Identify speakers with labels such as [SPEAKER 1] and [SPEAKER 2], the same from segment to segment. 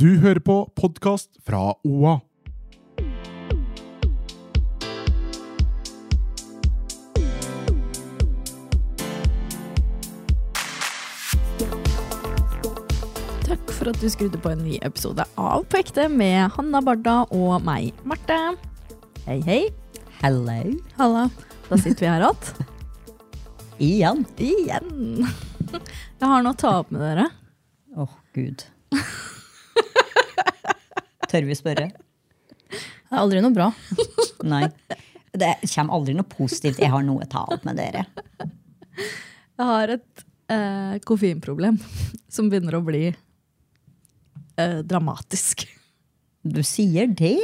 [SPEAKER 1] Du hører på podkast fra OA.
[SPEAKER 2] Takk for at du skrudde på en ny episode av På ekte med Hanna Barda og meg, Marte. Hei, hei.
[SPEAKER 3] Hello.
[SPEAKER 2] Halla. Da sitter vi her igjen.
[SPEAKER 3] Igjen.
[SPEAKER 2] Igjen. Jeg har noe å ta opp med dere.
[SPEAKER 3] Åh, gud. Tør vi spørre?
[SPEAKER 4] Det er aldri noe bra.
[SPEAKER 3] Nei. Det kommer aldri noe positivt. Jeg har noe å ta opp med dere.
[SPEAKER 2] Jeg har et eh, koffeinproblem som begynner å bli eh, dramatisk.
[SPEAKER 3] Du sier det.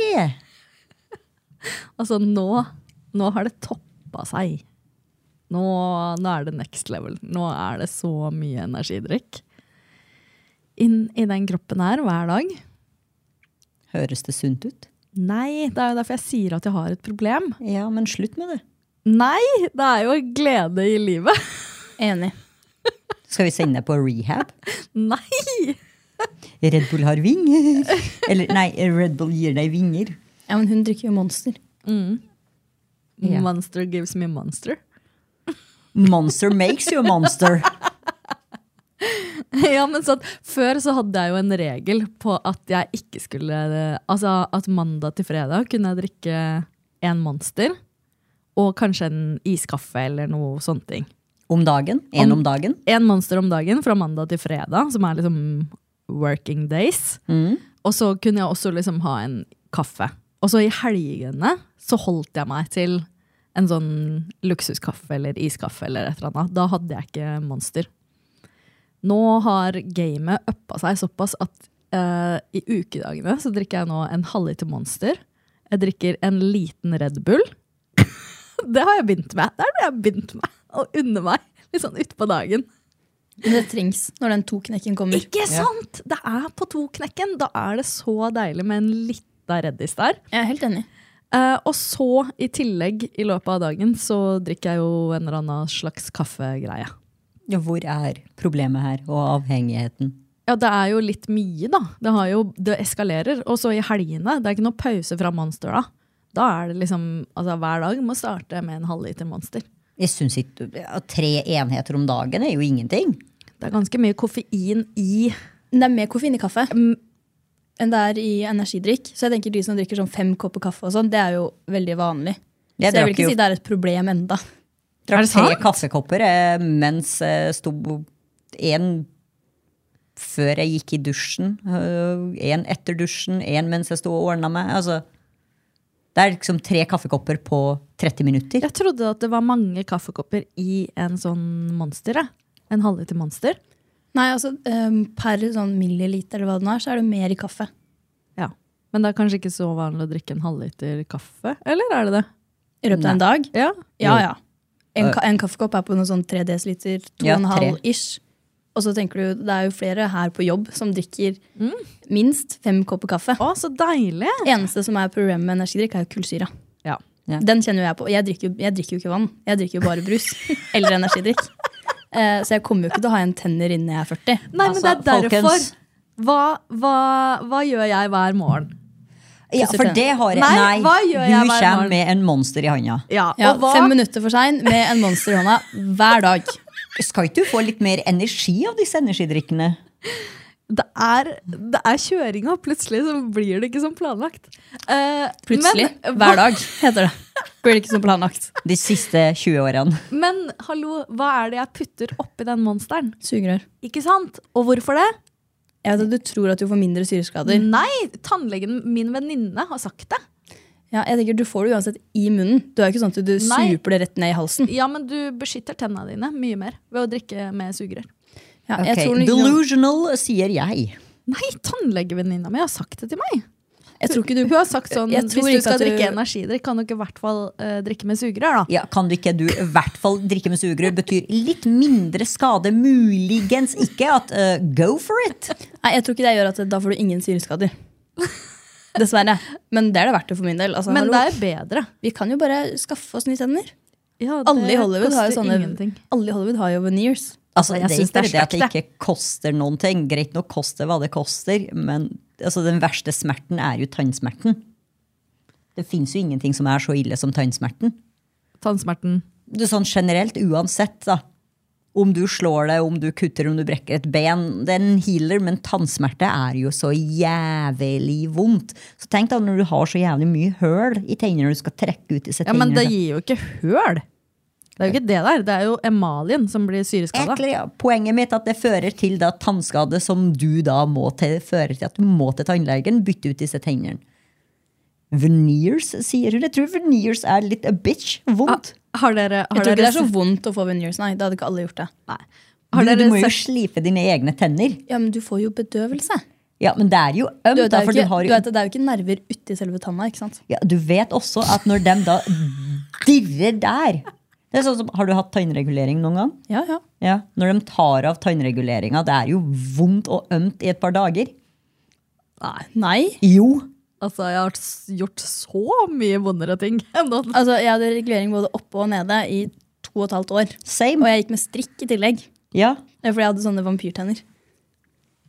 [SPEAKER 2] Altså, nå, nå har det toppa seg. Nå, nå er det next level. Nå er det så mye energidrikk inn i den kroppen her hver dag.
[SPEAKER 3] Høres det sunt ut?
[SPEAKER 2] Nei, det er jo derfor jeg sier at jeg har et problem.
[SPEAKER 3] Ja, men slutt med det.
[SPEAKER 2] Nei, det er jo glede i livet.
[SPEAKER 4] Enig.
[SPEAKER 3] Skal vi sende deg på rehab?
[SPEAKER 2] Nei!
[SPEAKER 3] Red Bull har vinger. Eller nei, Red Bull gir deg vinger.
[SPEAKER 4] Ja, men hun drikker jo Monster.
[SPEAKER 3] Ja.
[SPEAKER 2] Monster gives me monster.
[SPEAKER 3] Monster makes you a monster.
[SPEAKER 2] ja, men sånn, Før så hadde jeg jo en regel på at jeg ikke skulle Altså at mandag til fredag kunne jeg drikke en Monster og kanskje en iskaffe eller noe sånne ting.
[SPEAKER 3] Om dagen. En om dagen.
[SPEAKER 2] En Monster om dagen fra mandag til fredag, som er liksom working days.
[SPEAKER 3] Mm.
[SPEAKER 2] Og så kunne jeg også liksom ha en kaffe. Og så i helgene så holdt jeg meg til en sånn luksuskaffe eller iskaffe eller et eller annet. Da hadde jeg ikke Monster. Nå har gamet uppa seg såpass at eh, i ukedagene så drikker jeg nå en halvliter Monster. Jeg drikker en liten Red Bull. det har jeg begynt med. Det er det jeg har begynt med. Å unne meg litt sånn utpå dagen.
[SPEAKER 4] Men det trengs når den to-knekken kommer.
[SPEAKER 2] Ikke sant? Det er på to-knekken. Da er det så deilig med en lita Reddis der.
[SPEAKER 4] Jeg er helt enig.
[SPEAKER 2] Eh, og så, i tillegg, i løpet av dagen, så drikker jeg jo en eller annen slags kaffegreie.
[SPEAKER 3] Ja, hvor er problemet her, og avhengigheten?
[SPEAKER 2] Ja, det er jo litt mye, da. Det, har jo, det eskalerer. Og så i helgene. Det er ikke noe pause fra Monster da. Da er det liksom Altså, hver dag må starte med en halvliter Monster.
[SPEAKER 3] Jeg synes ikke, ja, Tre enheter om dagen er jo ingenting.
[SPEAKER 2] Det er ganske mye koffein i
[SPEAKER 4] Men det er mer koffein i kaffe mm, enn det er i energidrikk. Så jeg tenker de som drikker sånn fem kopper kaffe, og sånn, det er jo veldig vanlig.
[SPEAKER 3] Jeg
[SPEAKER 4] så jeg
[SPEAKER 3] drakk
[SPEAKER 4] vil ikke
[SPEAKER 3] jo-
[SPEAKER 4] si det er et problem enda.
[SPEAKER 2] Er
[SPEAKER 3] Drakk
[SPEAKER 2] det
[SPEAKER 3] tre
[SPEAKER 2] sant?
[SPEAKER 3] kaffekopper eh, mens eh, sto én før jeg gikk i dusjen, én etter dusjen, én mens jeg sto og ordna meg. Altså, det er liksom tre kaffekopper på 30 minutter.
[SPEAKER 2] Jeg trodde at det var mange kaffekopper i en sånn Monster, jeg. En halvliter Monster.
[SPEAKER 4] Nei, altså ehm, per sånn milliliter eller hva det nå er, så er det mer i kaffe.
[SPEAKER 2] Ja. Men det er kanskje ikke så vanlig å drikke en halvliter kaffe? Eller er det det?
[SPEAKER 4] I løpet av en dag.
[SPEAKER 2] Ja.
[SPEAKER 4] Ja, ja. En, ka en kaffekopp er på noe sånn 3 dl,
[SPEAKER 3] Ja, tre.
[SPEAKER 4] 2,5-ish. Og så tenker du, det er jo flere her på jobb som drikker minst fem kopper kaffe.
[SPEAKER 2] Å, så deilig!
[SPEAKER 4] eneste som er problemet med energidrikk, er jo kullsyra.
[SPEAKER 2] Ja.
[SPEAKER 3] Ja.
[SPEAKER 4] Den kjenner jo jeg på. Jeg drikker jo, jeg drikker jo ikke vann. Jeg drikker jo bare brus eller energidrikk. Eh, så jeg kommer jo ikke til å ha en tenner innen jeg er 40.
[SPEAKER 2] Nei, men det
[SPEAKER 3] Altså,
[SPEAKER 2] er derfor.
[SPEAKER 3] folkens.
[SPEAKER 2] Hva, hva, hva gjør jeg hver morgen?
[SPEAKER 3] Ja, for det har jeg.
[SPEAKER 2] Nei,
[SPEAKER 3] Nei,
[SPEAKER 2] hva gjør jeg
[SPEAKER 3] du
[SPEAKER 2] hver morgen?
[SPEAKER 3] kommer med en monster i handa.
[SPEAKER 2] Ja,
[SPEAKER 4] Ja,
[SPEAKER 2] og hva,
[SPEAKER 4] Fem minutter for sein med en monster i hånda hver dag.
[SPEAKER 3] Skal ikke du få litt mer energi av disse energidrikkene?
[SPEAKER 2] det er, det er kjøringa. Plutselig så blir det ikke som planlagt. Eh,
[SPEAKER 4] Plutselig.
[SPEAKER 2] Men,
[SPEAKER 4] hver dag, heter det. Blir det ikke som planlagt.
[SPEAKER 3] De siste 20 årene.
[SPEAKER 2] men hallo, hva er det jeg putter oppi den monsteren?
[SPEAKER 4] Sugerør.
[SPEAKER 2] Ikke sant? Og hvorfor det?
[SPEAKER 4] Jeg vet at du tror at du får mindre syreskader.
[SPEAKER 2] Nei, tannlegen min venninne har sagt det.
[SPEAKER 4] Ja, jeg tenker Du får det uansett i munnen. Du er jo ikke sånn at du
[SPEAKER 2] Nei.
[SPEAKER 4] super det rett ned i halsen.
[SPEAKER 2] Ja, men du beskytter tenna dine mye mer ved å drikke med sugerør.
[SPEAKER 4] Ja, jeg
[SPEAKER 3] Ok,
[SPEAKER 4] tror nok-
[SPEAKER 3] Delusional, sier jeg.
[SPEAKER 2] Nei, tannlegevenninna mi har sagt det til meg.
[SPEAKER 4] jeg tror ikke du
[SPEAKER 2] Hun har sagt sånn,
[SPEAKER 4] Jeg
[SPEAKER 2] Hvis
[SPEAKER 4] tror
[SPEAKER 2] du
[SPEAKER 4] ikke
[SPEAKER 2] skal
[SPEAKER 4] at du-
[SPEAKER 2] drikke energidrikk, kan du ikke i hvert fall eh, drikke med sugerør, da?
[SPEAKER 3] Ja, kan du ikke du i hvert fall drikke med sugerør? Betyr litt mindre skade, muligens ikke. At eh, go for it!
[SPEAKER 4] Nei, jeg tror ikke det gjør at da får du ingen syreskader. Dessverre. Men det er det verdt det for min del. Altså,
[SPEAKER 2] Men
[SPEAKER 4] hallo,
[SPEAKER 2] det er bedre.
[SPEAKER 4] Vi kan jo bare skaffe oss nye tenner.
[SPEAKER 2] Ja,
[SPEAKER 4] Alle
[SPEAKER 2] det
[SPEAKER 4] i Hollywood har jo
[SPEAKER 2] koster
[SPEAKER 4] sånne
[SPEAKER 2] ingenting.
[SPEAKER 4] Alle i Hollywood har jo veneers.
[SPEAKER 3] Altså,
[SPEAKER 2] Jeg
[SPEAKER 3] det er
[SPEAKER 2] synes
[SPEAKER 3] ikke bare
[SPEAKER 2] det
[SPEAKER 3] det,
[SPEAKER 2] er
[SPEAKER 3] at det
[SPEAKER 2] sterkt,
[SPEAKER 3] ikke koster noen ting. Greit nok koster hva det koster, men altså, den verste smerten er jo tannsmerten. Det fins jo ingenting som er så ille som tannsmerten.
[SPEAKER 2] Tannsmerten.
[SPEAKER 3] Du, sånn generelt, uansett, da. Om du slår deg, om du kutter, om du brekker et ben. Det er en healer, men tannsmerte er jo så jævlig vondt. Så tenk da når du har så jævlig mye høl i tennene når du skal trekke ut disse
[SPEAKER 2] Ja, men det
[SPEAKER 3] tennene.
[SPEAKER 2] gir jo ikke høl. Det er jo ikke det der. Det er jo emaljen som blir syreskada.
[SPEAKER 3] Egentlig, ja. Poenget mitt er at det fører til da tannskade som du da må til, fører til at du må til tannlegen, bytte ut disse tennene. Veneers, sier hun. Jeg tror veneers er litt a bitch. Vondt.
[SPEAKER 2] Ah, Har dere, har
[SPEAKER 4] Jeg tror ikke
[SPEAKER 2] dere,
[SPEAKER 4] det er så vondt å få veneers, nei. Da hadde ikke alle gjort det.
[SPEAKER 2] Nei. Ah, Har
[SPEAKER 3] du,
[SPEAKER 2] dere
[SPEAKER 3] du må jo
[SPEAKER 2] sett
[SPEAKER 3] slipe dine egne tenner.
[SPEAKER 4] Ja, men du får jo bedøvelse.
[SPEAKER 3] Ja, men det er jo
[SPEAKER 4] Du,
[SPEAKER 3] ømt.
[SPEAKER 4] vet, det,
[SPEAKER 3] da,
[SPEAKER 4] er jo
[SPEAKER 3] for du
[SPEAKER 4] ikke,
[SPEAKER 3] har
[SPEAKER 4] du
[SPEAKER 3] jo
[SPEAKER 4] vet, at det er jo ikke nerver uti selve tanna, ikke sant.
[SPEAKER 3] Ja, du vet også at når dem da dirrer der det er sånn som, Har du hatt tannregulering noen gang?
[SPEAKER 4] Ja, ja.
[SPEAKER 3] Ja, Når de tar av tannreguleringa, det er jo vondt og ømt i et par dager.
[SPEAKER 4] Nei. nei.
[SPEAKER 3] Jo.
[SPEAKER 2] Altså, jeg har s- gjort så mye vondere ting enn noen.
[SPEAKER 4] Altså, jeg hadde regulering både oppe og nede i to og et halvt år. Og
[SPEAKER 3] Same.
[SPEAKER 4] jeg gikk med strikk i tillegg.
[SPEAKER 3] Ja.
[SPEAKER 4] Det er Fordi jeg hadde sånne vampyrtenner.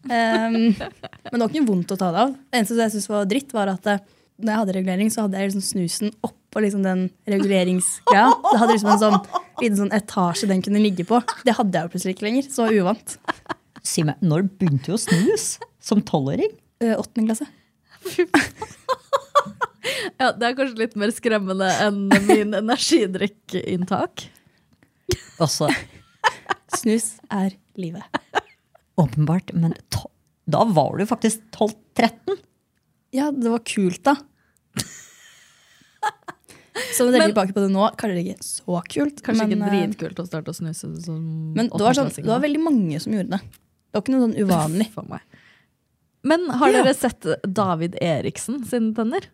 [SPEAKER 4] Ehm, men det var ikke vondt å ta det av. Det eneste jeg syntes var dritt, var at eh, når jeg hadde regulering, så hadde jeg liksom snusen oppå liksom den reguleringsgreia. Det hadde liksom en sånn liten sånn etasje den kunne ligge på. Det hadde jeg jo plutselig ikke lenger. Så uvant.
[SPEAKER 3] Si meg, når begynte du å snus? Som tolvåring?
[SPEAKER 4] Eh, Åttende klasse.
[SPEAKER 2] Ja, det er kanskje litt mer skremmende enn min energidrikkinntak.
[SPEAKER 3] Altså,
[SPEAKER 4] Snus er livet.
[SPEAKER 3] åpenbart, men to da var du faktisk 12-13.
[SPEAKER 4] Ja, det var kult, da. Så når jeg
[SPEAKER 2] Men-
[SPEAKER 4] tenker tilbake på det nå, kanskje det ikke så kult.
[SPEAKER 2] Kanskje
[SPEAKER 4] men,
[SPEAKER 2] ikke
[SPEAKER 4] eh,
[SPEAKER 2] dritkult å starte å snuse som
[SPEAKER 4] Men det var, sånn,
[SPEAKER 2] åttendeklassing,
[SPEAKER 4] det var
[SPEAKER 2] da.
[SPEAKER 4] veldig mange som gjorde det. Det var ikke noe sånn uvanlig.
[SPEAKER 2] for meg. Men har
[SPEAKER 4] Ja.
[SPEAKER 2] dere sett David Eriksen sine tenner?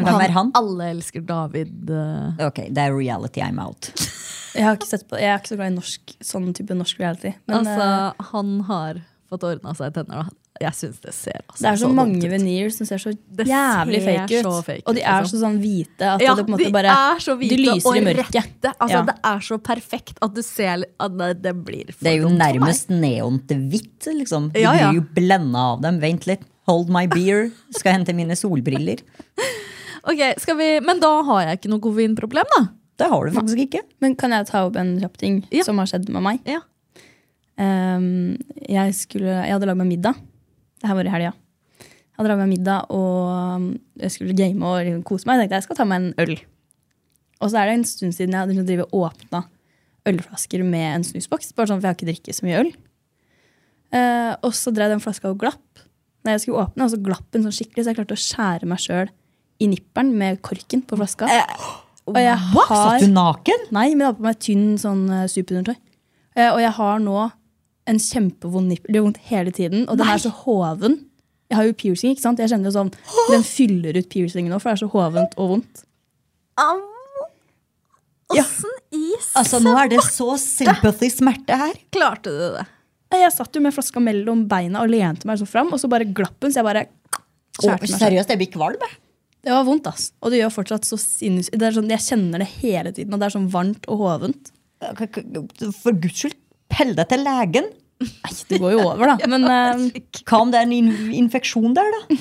[SPEAKER 3] Hvem er han?
[SPEAKER 2] Alle elsker David. eh,
[SPEAKER 3] Ok, det er reality I'm out.
[SPEAKER 4] Jeg har ikke sett på, jeg er ikke så glad i norsk, sånn type norsk reality. Men eh,
[SPEAKER 2] altså, han har fått ordna seg tenner. da. Jeg syns det ser altså,
[SPEAKER 4] det er så, mange
[SPEAKER 2] dumt ut.
[SPEAKER 4] veneers som ser så
[SPEAKER 2] Det
[SPEAKER 4] jævlig
[SPEAKER 2] ser
[SPEAKER 4] fake ut.
[SPEAKER 2] så fake ut,
[SPEAKER 4] og de er
[SPEAKER 2] altså.
[SPEAKER 4] så sånn hvite at
[SPEAKER 2] Ja,
[SPEAKER 4] det på en måte
[SPEAKER 2] de
[SPEAKER 4] bare
[SPEAKER 2] er så hvite
[SPEAKER 4] de lyser
[SPEAKER 2] og
[SPEAKER 4] i mørket.
[SPEAKER 2] rette. Altså,
[SPEAKER 4] Ja.
[SPEAKER 2] Det er så perfekt at du ser li- at det, det blir for
[SPEAKER 3] Det er jo
[SPEAKER 2] dumt for meg.
[SPEAKER 3] nærmest neon til hvitt, liksom. Du
[SPEAKER 2] Ja, ja.
[SPEAKER 3] blir jo blenda av dem. Vent litt. Hold my beer. Skal hente mine solbriller.
[SPEAKER 2] Ok, skal vi, Men da har jeg ikke noe koffeinproblem, da.
[SPEAKER 3] Det har du faktisk ikke.
[SPEAKER 4] Men kan jeg ta opp en kjapp ting
[SPEAKER 2] Ja.
[SPEAKER 4] som har skjedd med meg?
[SPEAKER 2] Ja.
[SPEAKER 4] Ehm, jeg, skulle, jeg hadde lagd meg middag. Det her var i helga. Jeg hadde lagd meg middag og um, jeg skulle game og liksom kose meg. Jeg tenkte jeg skal ta meg en øl. Og så er det en stund siden jeg hadde liksom drevet og åpna ølflasker med en snusboks. Bare sånn, for jeg har ikke drikket så mye øl. Eh, og så drev den flaska og glapp. Når jeg skulle åpne, og så glapp den sånn skikkelig, så jeg klarte å skjære meg sjøl i nipperen med korken på flaska. og jeg har
[SPEAKER 3] Satt du naken?
[SPEAKER 4] Nei, men jeg har på meg tynn sånn eh, superundertøy. Eh, og jeg har nå en kjempevond nippel. Det gjør vondt hele tiden, og den er så hoven. Jeg har jo piercing, ikke sant? Jeg kjenner jo sånn, Den fyller ut piercingen nå, for det er så hovent og vondt.
[SPEAKER 2] Au!
[SPEAKER 4] Ja.
[SPEAKER 2] Åssen is
[SPEAKER 3] Altså, nå er det så sympathy smerte her.
[SPEAKER 2] klarte du det?
[SPEAKER 4] Nei, Eh, Jeg satt jo med flaska mellom beina og lente meg sånn fram, og så bare glapp den, så jeg bare
[SPEAKER 3] Å,
[SPEAKER 4] skjærte meg selv.
[SPEAKER 3] seriøst, jeg blir kvalm. jeg.
[SPEAKER 4] Det var vondt, ass. Og det gjør fortsatt så sinnssykt. Det er sånn, jeg kjenner det hele tiden, og det er sånn varmt og hovent.
[SPEAKER 3] K- k- For guds skyld, pell deg til legen.
[SPEAKER 4] Nei, det går jo over, da. Men eh,
[SPEAKER 3] Hva om det er en in- infeksjon der, da?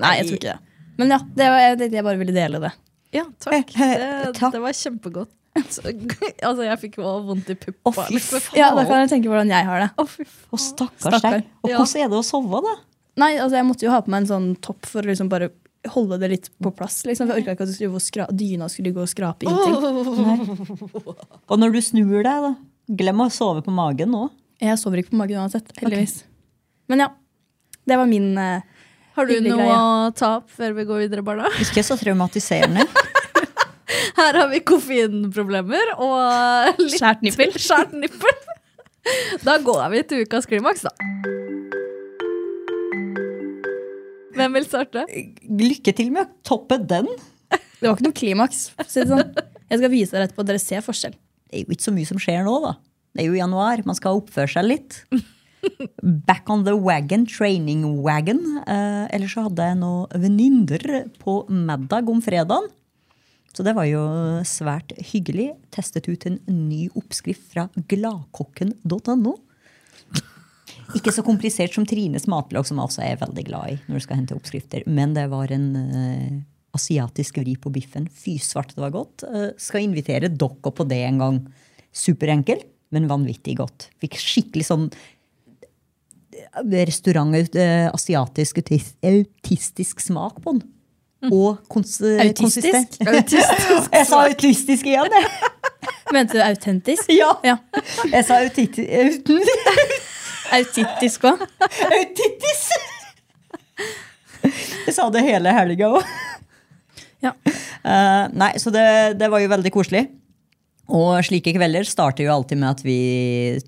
[SPEAKER 4] Nei, jeg tror ikke det. Men ja, det var, jeg, jeg bare ville dele det.
[SPEAKER 2] Ja, Eh, takk. Det,
[SPEAKER 3] Takk.
[SPEAKER 2] det var kjempegodt. altså, jeg fikk også vondt i
[SPEAKER 3] Å,
[SPEAKER 2] puppa.
[SPEAKER 3] fy
[SPEAKER 2] liksom.
[SPEAKER 4] Ja, Da
[SPEAKER 3] faen.
[SPEAKER 4] kan jeg tenke hvordan jeg har det.
[SPEAKER 2] Å, fy faen.
[SPEAKER 3] Å, stakkars deg. Og
[SPEAKER 2] Ja.
[SPEAKER 3] hvordan er det å sove, da?
[SPEAKER 4] Nei, altså jeg måtte jo ha på meg en sånn topp for å liksom bare holde det litt på plass. Liksom. For jeg orka ikke at du skulle gå og skra dyna skulle gå og skrape ingenting.
[SPEAKER 3] Og når du snur deg, da? Glem å sove på magen nå.
[SPEAKER 4] Jeg sover ikke på magen uansett, heldigvis. Men ja. Det var min eh,
[SPEAKER 2] Har du
[SPEAKER 4] Hyggelig
[SPEAKER 2] noe å
[SPEAKER 4] greie.
[SPEAKER 2] ta opp før vi går videre, barna?
[SPEAKER 3] Ikke så traumatiserende.
[SPEAKER 2] Her har vi koffeinproblemer og litt
[SPEAKER 4] skjært nippel.
[SPEAKER 2] skjært nippel. Da går vi til ukas klimaks, da. Hvem vil starte?
[SPEAKER 3] Lykke til med å toppe den.
[SPEAKER 4] Det var ikke noe klimaks. for å Si det sånn. Jeg skal vise dere etterpå at dere ser forskjell.
[SPEAKER 3] det er jo ikke så mye som skjer nå, da. Det er jo januar, man skal oppføre seg litt. Back on the wagon, training wagon. Eh, ellers så hadde jeg noen venninner på middag om fredagen. Så det var jo svært hyggelig. Testet ut en ny oppskrift fra gladkokken.no. Ikke så komplisert som Trines matlag, som jeg også er veldig glad i. når du skal hente oppskrifter. Men det var en eh, asiatisk vri på biffen. Fy svarte, det var godt. Eh, skal invitere dere på det en gang. Superenkel, men vanvittig godt. Fikk skikkelig sånn restaurant eh, asiatisk autis- autistisk smak på den. Og kons eh,
[SPEAKER 4] Autistisk?
[SPEAKER 3] konsistent. Jeg sa autistisk igjen, jeg.
[SPEAKER 4] Mente du autentisk?
[SPEAKER 3] Ja.
[SPEAKER 4] Ja.
[SPEAKER 3] Jeg sa autiti- auten-
[SPEAKER 4] Autittisk òg.
[SPEAKER 3] autittis. Jeg sa det hele helga òg.
[SPEAKER 4] Ja.
[SPEAKER 3] nei, så det, det var jo veldig koselig. Og slike kvelder starter jo alltid med at vi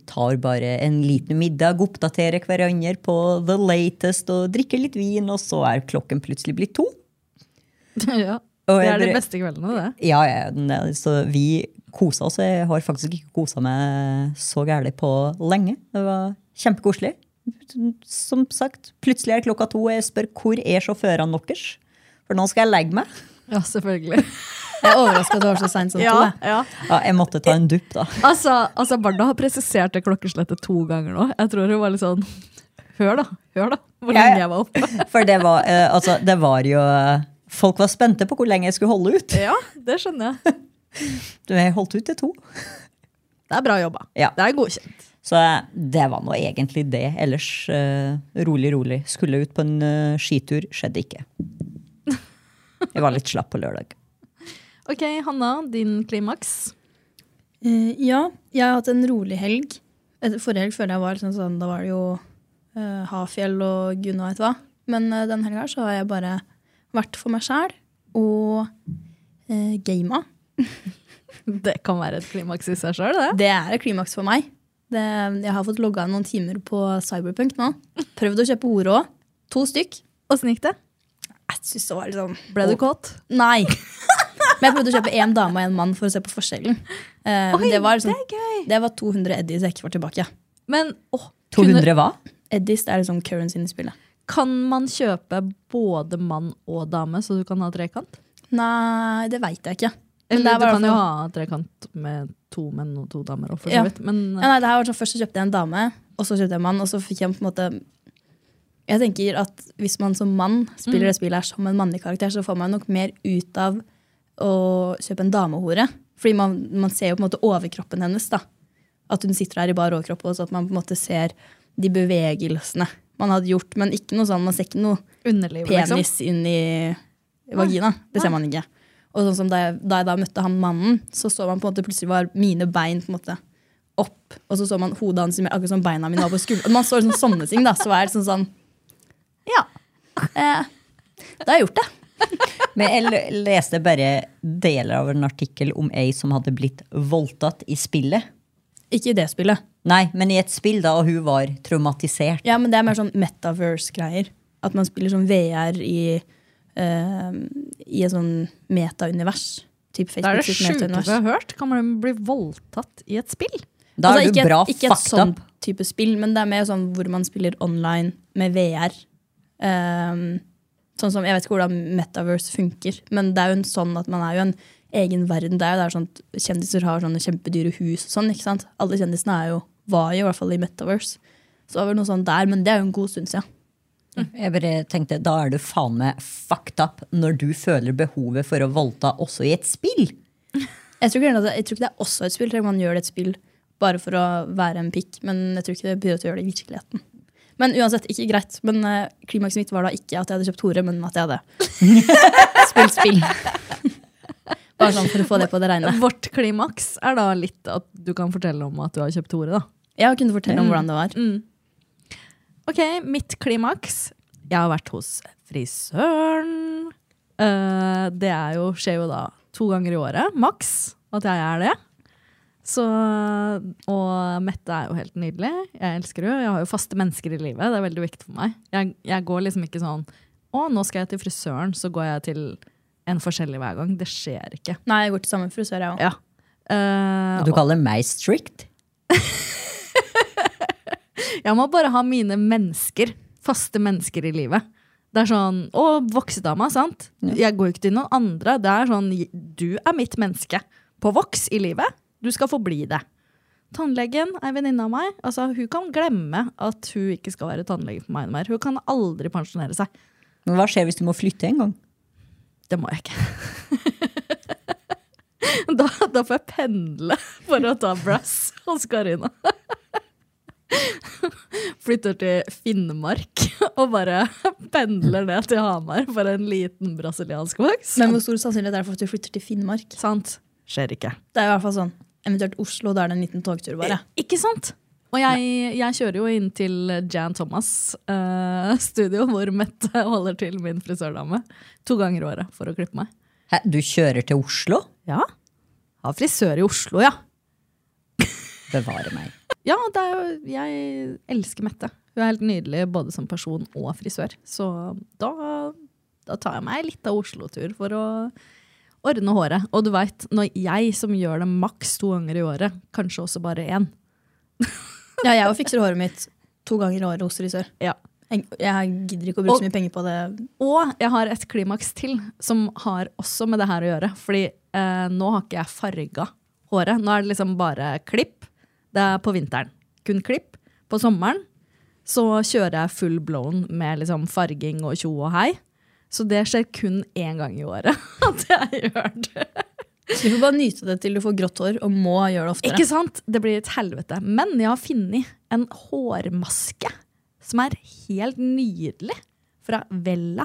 [SPEAKER 3] tar bare en liten middag, oppdaterer hverandre på the latest og drikker litt vin, og så er klokken plutselig blitt to.
[SPEAKER 2] ja.
[SPEAKER 3] Og
[SPEAKER 2] Det
[SPEAKER 3] jeg
[SPEAKER 2] er de
[SPEAKER 3] bare-
[SPEAKER 2] beste kveldene, det.
[SPEAKER 3] Ja, ja, ne- så vi kosa oss. Jeg har faktisk ikke kosa meg så gærent på lenge. Det var kjempekoselig. Som sagt, plutselig er klokka to, og jeg spør hvor er sjåførene deres? For nå skal jeg legge meg.
[SPEAKER 2] Ja, selvfølgelig. Sånn
[SPEAKER 4] Jeg er overraska at det var så seint som to. jeg.
[SPEAKER 2] ja.
[SPEAKER 3] Ja, jeg måtte ta en dupp, da.
[SPEAKER 2] Altså, altså, Barda har presisert det klokkeslettet to ganger nå. Jeg tror hun var litt sånn Hør, da. Hør, da. Hvor
[SPEAKER 3] Ja, ja.
[SPEAKER 2] lenge jeg var oppe.
[SPEAKER 3] For det var, eh, altså, det var jo eh, Folk var spente på hvor lenge jeg skulle holde ut.
[SPEAKER 2] Ja, det skjønner jeg.
[SPEAKER 3] Jeg holdt ut til to.
[SPEAKER 2] Det er bra jobba.
[SPEAKER 3] Ja.
[SPEAKER 2] Det er godkjent.
[SPEAKER 3] Så eh, det var nå egentlig det. Ellers eh, rolig, rolig. Skulle ut på en eh, skitur, skjedde ikke. Jeg var litt slapp på lørdag.
[SPEAKER 2] Ok, Hanna, din klimaks.
[SPEAKER 4] Eh, ja, jeg har hatt en rolig helg. Et- Forrige helg føler jeg var liksom sånn, da var det jo eh, Hafjell og gudene veit hva. Men eh, den helga så har jeg bare vært for meg sjæl og uh, gama.
[SPEAKER 2] Det kan være et klimaks i seg sjøl, det.
[SPEAKER 4] Det er et klimaks for meg. Det, jeg har fått logga inn noen timer på Cyberpunk nå. Prøvd å kjøpe hore òg. To stykk.
[SPEAKER 2] Åssen gikk det?
[SPEAKER 4] Jeg synes det var liksom
[SPEAKER 2] Ble du kåt?
[SPEAKER 4] Nei. Men jeg prøvde å kjøpe én dame og én mann for å se på forskjellen. Eh, men
[SPEAKER 2] Oi,
[SPEAKER 4] det, var liksom,
[SPEAKER 2] det er gøy!
[SPEAKER 4] det var 200 eddies jeg ikke får tilbake.
[SPEAKER 2] Men åh,
[SPEAKER 3] 200 hva?
[SPEAKER 4] Eddies det er liksom currencyen i spillet.
[SPEAKER 2] kan man kjøpe både mann og dame, så du kan ha trekant?
[SPEAKER 4] Nei, det veit jeg ikke. Men det
[SPEAKER 2] Eller
[SPEAKER 4] er
[SPEAKER 2] du
[SPEAKER 4] bare
[SPEAKER 2] kan jo
[SPEAKER 4] for-
[SPEAKER 2] ha trekant med to menn og to damer òg, for
[SPEAKER 4] Ja.
[SPEAKER 2] så vidt. Men
[SPEAKER 4] Ja, nei, det her var sånn, Først så kjøpte jeg en dame, og så kjøpte jeg en mann. Og så fikk jeg på en måte Jeg tenker at Hvis man som mann spiller det spillet her som en mannlig karakter, så får man nok mer ut av å kjøpe en damehore. Fordi man, man ser jo på en måte overkroppen hennes. da At hun sitter der i bar overkropp, og så at man på en måte ser de bevegelsene man hadde gjort. Men ikke noe sånn, man ser ikke noe
[SPEAKER 2] underlivet, liksom.
[SPEAKER 4] penis inn i vagina. Det ser man ikke. Og sånn som da jeg, da jeg da møtte han mannen, så så man på en måte plutselig var mine bein på en måte opp, og så så man hodet hans i mer- akkurat som beina mine var på skulderen. Man så liksom sånne ting, da. Så var det sånn sånn Ja. Eh, da har jeg gjort det.
[SPEAKER 3] Men jeg l- leste bare deler av en artikkel om ei som hadde blitt voldtatt i spillet.
[SPEAKER 4] Ikke i det spillet.
[SPEAKER 3] Nei, men i et spill, da, og hun var traumatisert.
[SPEAKER 4] Ja, men det er mer sånn metaverse-greier. At man spiller sånn VR i, eh, i et sånn meta-univers. Typ
[SPEAKER 2] Det er
[SPEAKER 4] Facebook
[SPEAKER 2] det
[SPEAKER 4] sitt
[SPEAKER 2] sjukeste
[SPEAKER 4] meta-univers.
[SPEAKER 2] jeg har hørt. Kan man bli voldtatt i et spill?
[SPEAKER 3] Da er
[SPEAKER 4] Altså,
[SPEAKER 3] du
[SPEAKER 4] ikke,
[SPEAKER 3] bra
[SPEAKER 4] et- ikke et
[SPEAKER 3] fucked
[SPEAKER 4] sånn
[SPEAKER 3] up.
[SPEAKER 4] type spill, men det er mer sånn hvor man spiller online med VR. Ehm, sånn som, Jeg vet ikke hvordan metaverse funker, men det er jo en sånn at man er jo en egen verden. Det er jo der sånn at Kjendiser har sånne kjempedyre hus og sånn. ikke sant? Alle kjendisene er jo, var jo i hvert fall i metaverse. Så det var vel noe sånn der, men det er jo en god stund siden.
[SPEAKER 3] Mm. Jeg bare tenkte, Da er du faen meg fucked up når du føler behovet for å voldta også i et spill.
[SPEAKER 4] Jeg tror ikke, det- jeg tror ikke det er også et spill. Jeg tror Man gjør det et spill bare for å være en pikk, men jeg tror ikke det betyr at du gjør det i virkeligheten. Men uansett, ikke greit. Men eh, klimakset mitt var da ikke at jeg hadde kjøpt hore, men at jeg hadde spilt spill. Bare sånn for å få det på det reine.
[SPEAKER 2] Vårt klimaks er da litt at du kan fortelle om at du har kjøpt hore, da.
[SPEAKER 4] Jeg kunne fortelle om hvordan det var.
[SPEAKER 2] Mm. Ok, mitt klimaks. Jeg har vært hos frisøren. Eh, det er jo, skjer jo da to ganger i året, maks, at jeg er det. Så, og Mette er jo helt nydelig. Jeg elsker henne. Jeg har jo faste mennesker i livet. Det er veldig viktig for meg. Jeg, jeg går liksom ikke sånn Å, nå skal jeg til frisøren, så går jeg til en forskjellig hver gang. Det skjer ikke.
[SPEAKER 4] Nei, jeg går til samme frisør, jeg òg.
[SPEAKER 2] Ja. Eh,
[SPEAKER 3] Du kaller meg strict?
[SPEAKER 2] Jeg må bare ha mine mennesker, faste mennesker i livet. Det er sånn Og voksedama, sant? Jeg går jo ikke til noen andre. Det er sånn Du er mitt menneske. På voks i livet. Du skal forbli det. Tannlegen er venninne av meg. Altså, hun kan glemme at hun ikke skal være tannlege for meg mer. Hun kan aldri pensjonere seg.
[SPEAKER 3] Men hva skjer hvis du må flytte en gang?
[SPEAKER 2] Det må jeg ikke. da, da får jeg pendle for å ta Brass hos Karina. Flytter til Finnmark og bare pendler ned til Hamar for en liten brasiliansk voks.
[SPEAKER 4] Men hvor stor sannsynlighet er det for at du flytter til Finnmark?
[SPEAKER 2] Sant. Skjer ikke.
[SPEAKER 4] Det er i hvert fall sånn. Eventuelt Oslo, da er det en liten togtur bare.
[SPEAKER 2] I- Eh, Ikke sant? Og jeg, jeg kjører jo inn til Jan Thomas' eh, studio, hvor Mette holder til min frisørdame. To ganger i året for å klippe meg.
[SPEAKER 3] Hæ, du kjører til Oslo?
[SPEAKER 2] Ja. Har frisør i Oslo, ja.
[SPEAKER 3] Bevare meg.
[SPEAKER 2] Ja, det er jo, jeg elsker Mette. Hun er helt nydelig både som person og frisør. Så da, da tar jeg meg litt av Oslo-tur for å ordne håret. Og du veit, når jeg som gjør det maks to ganger i året, kanskje også bare én
[SPEAKER 4] Ja, jeg også fikser håret mitt to ganger i året hos frisør.
[SPEAKER 2] ja.
[SPEAKER 4] Jeg jeg gidder ikke å bruke
[SPEAKER 2] Og-
[SPEAKER 4] så mye penger på det.
[SPEAKER 2] Og jeg har et klimaks til som har også med det her å gjøre. Fordi eh, nå har ikke jeg farga håret. Nå er det liksom bare klipp. Det er på vinteren. Kun klipp. På sommeren så kjører jeg full blown med liksom farging og tjo og hei. Så det skjer kun én gang i året at jeg gjør det.
[SPEAKER 4] Så du får bare nyte det til du får grått hår og må gjøre det oftere.
[SPEAKER 2] Ikke sant? Det blir et helvete. Men jeg har funnet en hårmaske som er helt nydelig, fra Vella.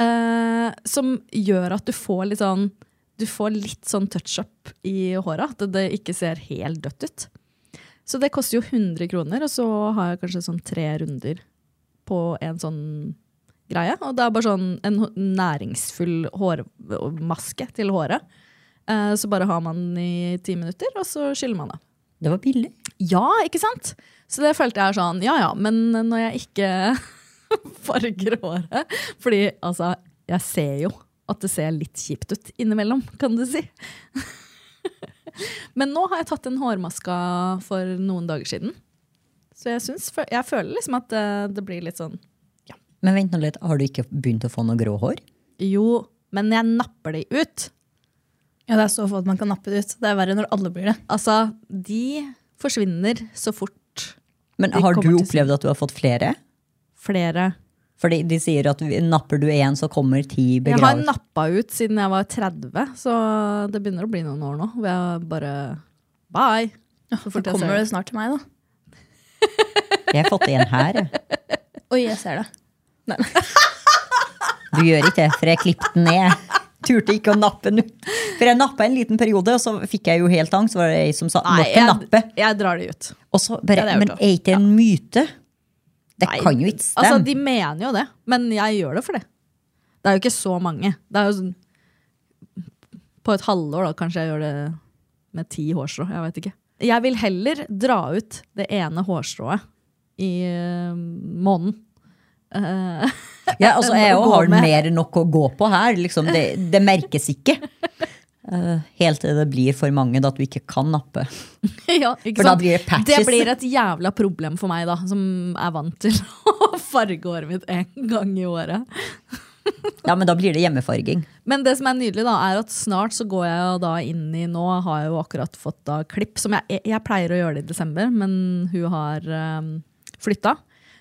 [SPEAKER 2] Eh, som gjør at du får litt sånn Du får litt sånn touch-up i håra. At det ikke ser helt dødt ut. Så det koster jo 100 kroner, og så har jeg kanskje sånn tre runder på en sånn greie. Og det er bare sånn en hå- næringsfull hårmaske til håret. Eh, Så bare har man den i ti minutter, og så skyller man det.
[SPEAKER 3] Det var billig.
[SPEAKER 2] Ja, ikke sant? Så det følte jeg er sånn, ja ja, men når jeg ikke farger håret Fordi altså, jeg ser jo at det ser litt kjipt ut innimellom, kan du si. men nå har jeg tatt en hårmaska for noen dager siden. Så jeg, syns, jeg føler liksom at det, det blir litt sånn
[SPEAKER 3] Men vent nå litt, har du ikke begynt å få noe grå hår?
[SPEAKER 2] Jo, men jeg napper de ut.
[SPEAKER 4] Ja, det er så få at man kan nappe det ut. Det er verre når alle blir det.
[SPEAKER 2] Altså, de forsvinner så fort
[SPEAKER 3] Men
[SPEAKER 2] De
[SPEAKER 3] har
[SPEAKER 2] kommer
[SPEAKER 3] du
[SPEAKER 2] til
[SPEAKER 3] opplevd at du har fått flere?
[SPEAKER 2] flere
[SPEAKER 3] Fordi de sier at vi- napper du én, så kommer ti
[SPEAKER 2] Jeg har
[SPEAKER 3] begravelser.
[SPEAKER 2] nappa ut siden jeg var 30, så det begynner å bli noen år nå. Hvor jeg bare Bye! Så
[SPEAKER 4] Så
[SPEAKER 2] fort jeg
[SPEAKER 4] kommer
[SPEAKER 2] ser
[SPEAKER 4] det
[SPEAKER 2] det.
[SPEAKER 4] snart til meg, da.
[SPEAKER 3] Jeg har fått en her. jeg.
[SPEAKER 4] Oi, jeg ser det.
[SPEAKER 3] Du gjør ikke det, for jeg klippet den ned. Turte ikke å nappe den ut. For jeg nappa en liten periode, og så fikk jeg jo helt angst. Så var det ei som sa
[SPEAKER 2] Nei,
[SPEAKER 3] måtte nappe.
[SPEAKER 2] jeg, jeg drar de ut.
[SPEAKER 3] Og så bare,
[SPEAKER 2] Ja, det er jo
[SPEAKER 3] men
[SPEAKER 2] klart.
[SPEAKER 3] er ikke det en myte? Det
[SPEAKER 2] Nei.
[SPEAKER 3] kan jo ikke stemme.
[SPEAKER 2] Altså, De mener jo det, men jeg gjør det for det. Det er jo ikke så mange. Det er jo sånn På et halvår, da, kanskje jeg gjør det med ti hårstrå. Jeg vet ikke. Jeg vil heller dra ut det ene hårstrået i eh, måneden. Eh,
[SPEAKER 3] Ja, altså,
[SPEAKER 2] enn
[SPEAKER 3] jeg
[SPEAKER 2] å
[SPEAKER 3] òg
[SPEAKER 2] gå
[SPEAKER 3] har
[SPEAKER 2] med.
[SPEAKER 3] mer enn nok å gå på her. Liksom. Det, det merkes ikke. Eh, helt til det blir for mange da at du ikke kan nappe.
[SPEAKER 2] Ja, ikke
[SPEAKER 3] For da
[SPEAKER 2] sant?
[SPEAKER 3] blir det patches.
[SPEAKER 2] Det blir et jævla problem for meg, da, som er vant til å farge håret mitt én gang i året.
[SPEAKER 3] Ja, Men da blir det hjemmefarging.
[SPEAKER 2] Men det som er nydelig, da, er at snart så går jeg jo da inn i Nå har jeg jo akkurat fått da klipp, som jeg, jeg, jeg pleier å gjøre det i desember, men hun har um, flytta.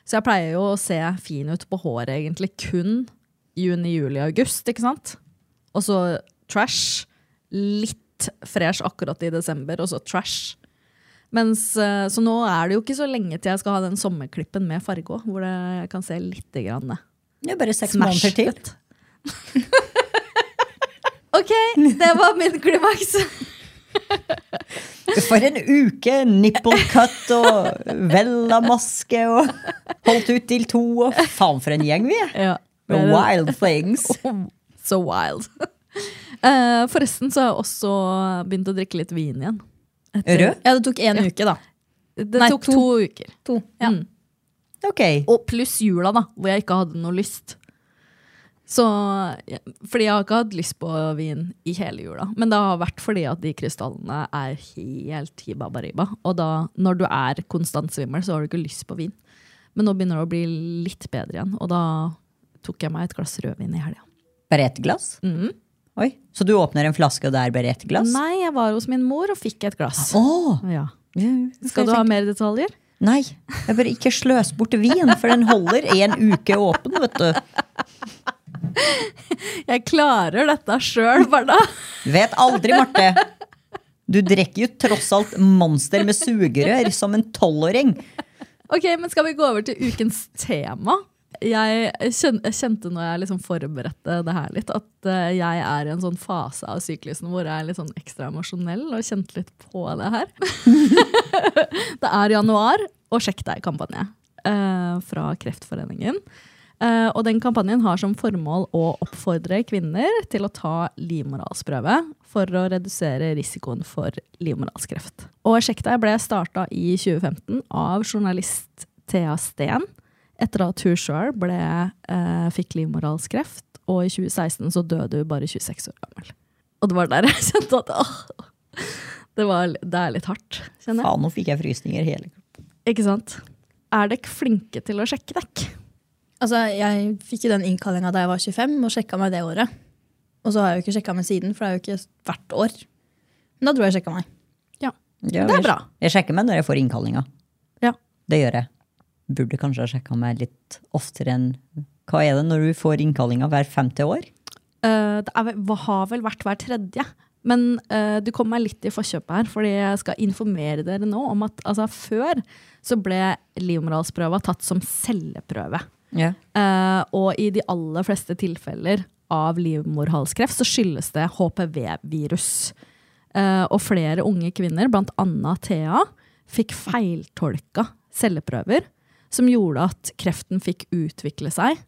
[SPEAKER 2] Så jeg pleier jo å se fin ut på håret egentlig kun juni, juli, august, ikke sant? Og så trash. Litt fresh akkurat i desember, og så trash. Mens, eh, så nå er det jo ikke så lenge til jeg skal ha den sommerklippen med farge òg, hvor det, jeg kan se litt grann
[SPEAKER 3] Det er bare seks måneder
[SPEAKER 2] smashed
[SPEAKER 3] til.
[SPEAKER 2] ut. ok, det var min klimaks.
[SPEAKER 3] For en uke! Nipple cut og Vella-maske og holdt ut til to og faen for en gjeng vi er!
[SPEAKER 2] ja,
[SPEAKER 3] Wild things.
[SPEAKER 2] So wild. Eh, forresten så har jeg også begynt å drikke litt vin igjen.
[SPEAKER 3] Rød?
[SPEAKER 4] Ja, det tok én
[SPEAKER 2] Ja.
[SPEAKER 4] uke, da.
[SPEAKER 2] Det
[SPEAKER 4] Nei,
[SPEAKER 2] tok
[SPEAKER 4] to.
[SPEAKER 2] to, uker.
[SPEAKER 4] To. Ja.
[SPEAKER 2] Mm.
[SPEAKER 3] Ok.
[SPEAKER 2] Og pluss jula, da, hvor jeg ikke hadde noe lyst. Så, ja, fordi jeg har ikke hatt lyst på vin i hele jula. Men det har vært fordi at de krystallene er helt hibabariba. Og da, når du er konstant svimmel, så har du ikke lyst på vin. Men nå begynner det å bli litt bedre igjen, og da tok jeg meg et glass rødvin i helga.
[SPEAKER 3] Bare ett glass?
[SPEAKER 2] Mhm.
[SPEAKER 3] Oi. Så du åpner en flaske, og det er bare ett glass?
[SPEAKER 2] Nei, jeg var hos min mor og fikk et glass.
[SPEAKER 3] Åh!
[SPEAKER 2] Ja.
[SPEAKER 3] Skal
[SPEAKER 2] Skal du ha mer detaljer?
[SPEAKER 3] Nei, jeg bør ikke sløse bort vin, for den holder en uke åpen, vet du.
[SPEAKER 2] Jeg klarer dette sjøl, Barda.
[SPEAKER 3] Vet aldri, Marte. Du drikker jo tross alt monster med sugerør som en tolvåring.
[SPEAKER 2] Ok, men Skal vi gå over til ukens tema? Jeg kjen- jeg kjente når jeg liksom forberedte det her litt, at eh, jeg er i en sånn fase av syklusen hvor jeg er litt sånn ekstra emosjonell og kjente litt på det her. det er januar, og Sjekk deg-kampanje eh, fra Kreftforeningen. Eh, og den kampanjen har som formål å oppfordre kvinner til å ta livmorhalsprøve for å redusere risikoen for livmorhalskreft. Og Sjekk deg ble starta i 2015 av journalist Thea Steen etter at hun sjøl eh, fikk livmorhalskreft. Og i 2016 så døde hun bare 26 år gammel. Og det var der jeg kjente at åh, det, var, det er litt hardt. kjenner jeg.
[SPEAKER 3] Faen, nå fikk jeg frysninger hele
[SPEAKER 2] Ikke sant? Er dere flinke til å sjekke dekk?
[SPEAKER 4] Altså, jeg fikk jo den innkallinga da jeg var 25, og sjekka meg det året. Og så har jeg jo ikke sjekka meg siden, for det er jo ikke hvert år. Men da tror jeg jeg sjekka meg.
[SPEAKER 3] Ja,
[SPEAKER 2] Det er
[SPEAKER 3] jeg-
[SPEAKER 2] bra.
[SPEAKER 3] Jeg sjekker meg når jeg får innkallinga.
[SPEAKER 2] Ja.
[SPEAKER 3] Det gjør jeg. Burde kanskje ha sjekka meg litt oftere enn Hva er det når du får innkallinga hver femte år?
[SPEAKER 2] Eh, det er, vel- hva har vel vært hver tredje. Men eh, du kom meg litt i forkjøpet her, fordi jeg skal informere dere nå om at altså, før så ble livmorhalsprøva tatt som celleprøve.
[SPEAKER 3] Ja.
[SPEAKER 2] Eh, og i de aller fleste tilfeller av livmorhalskreft så skyldes det HPV-virus. Eh, og flere unge kvinner, bl.a. Thea, fikk feiltolka celleprøver, som gjorde at kreften fikk utvikle seg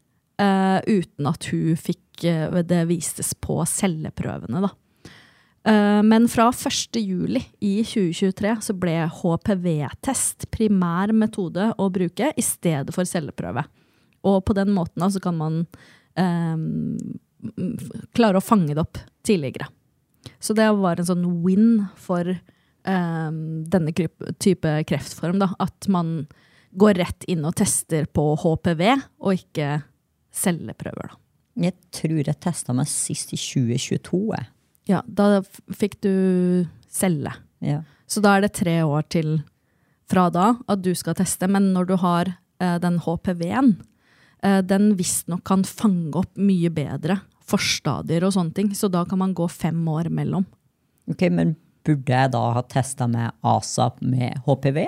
[SPEAKER 2] eh, uten at hun fikk eh, Det vistes på celleprøvene, da. Eh, Men fra 1. juli i 2023 så ble HPV-test primær metode å bruke i stedet for celleprøve. Og på den måten da, så kan man eh, m- f- klare å fange det opp tidligere. Så det var en sånn win for eh, denne kryp- type kreftform. Da, at man går rett inn og tester på HPV, og ikke celleprøver. Da.
[SPEAKER 3] Jeg tror jeg testa meg sist i 2022, jeg.
[SPEAKER 2] Ja, da f- fikk du celle.
[SPEAKER 3] Ja.
[SPEAKER 2] Så da er det tre år til fra da at du skal teste. Men når du har eh, den HPV-en, eh, den visstnok kan fange opp mye bedre forstadier og sånne ting. Så da kan man gå fem år mellom.
[SPEAKER 3] Ok, Men burde jeg da ha testa meg asap med HPV?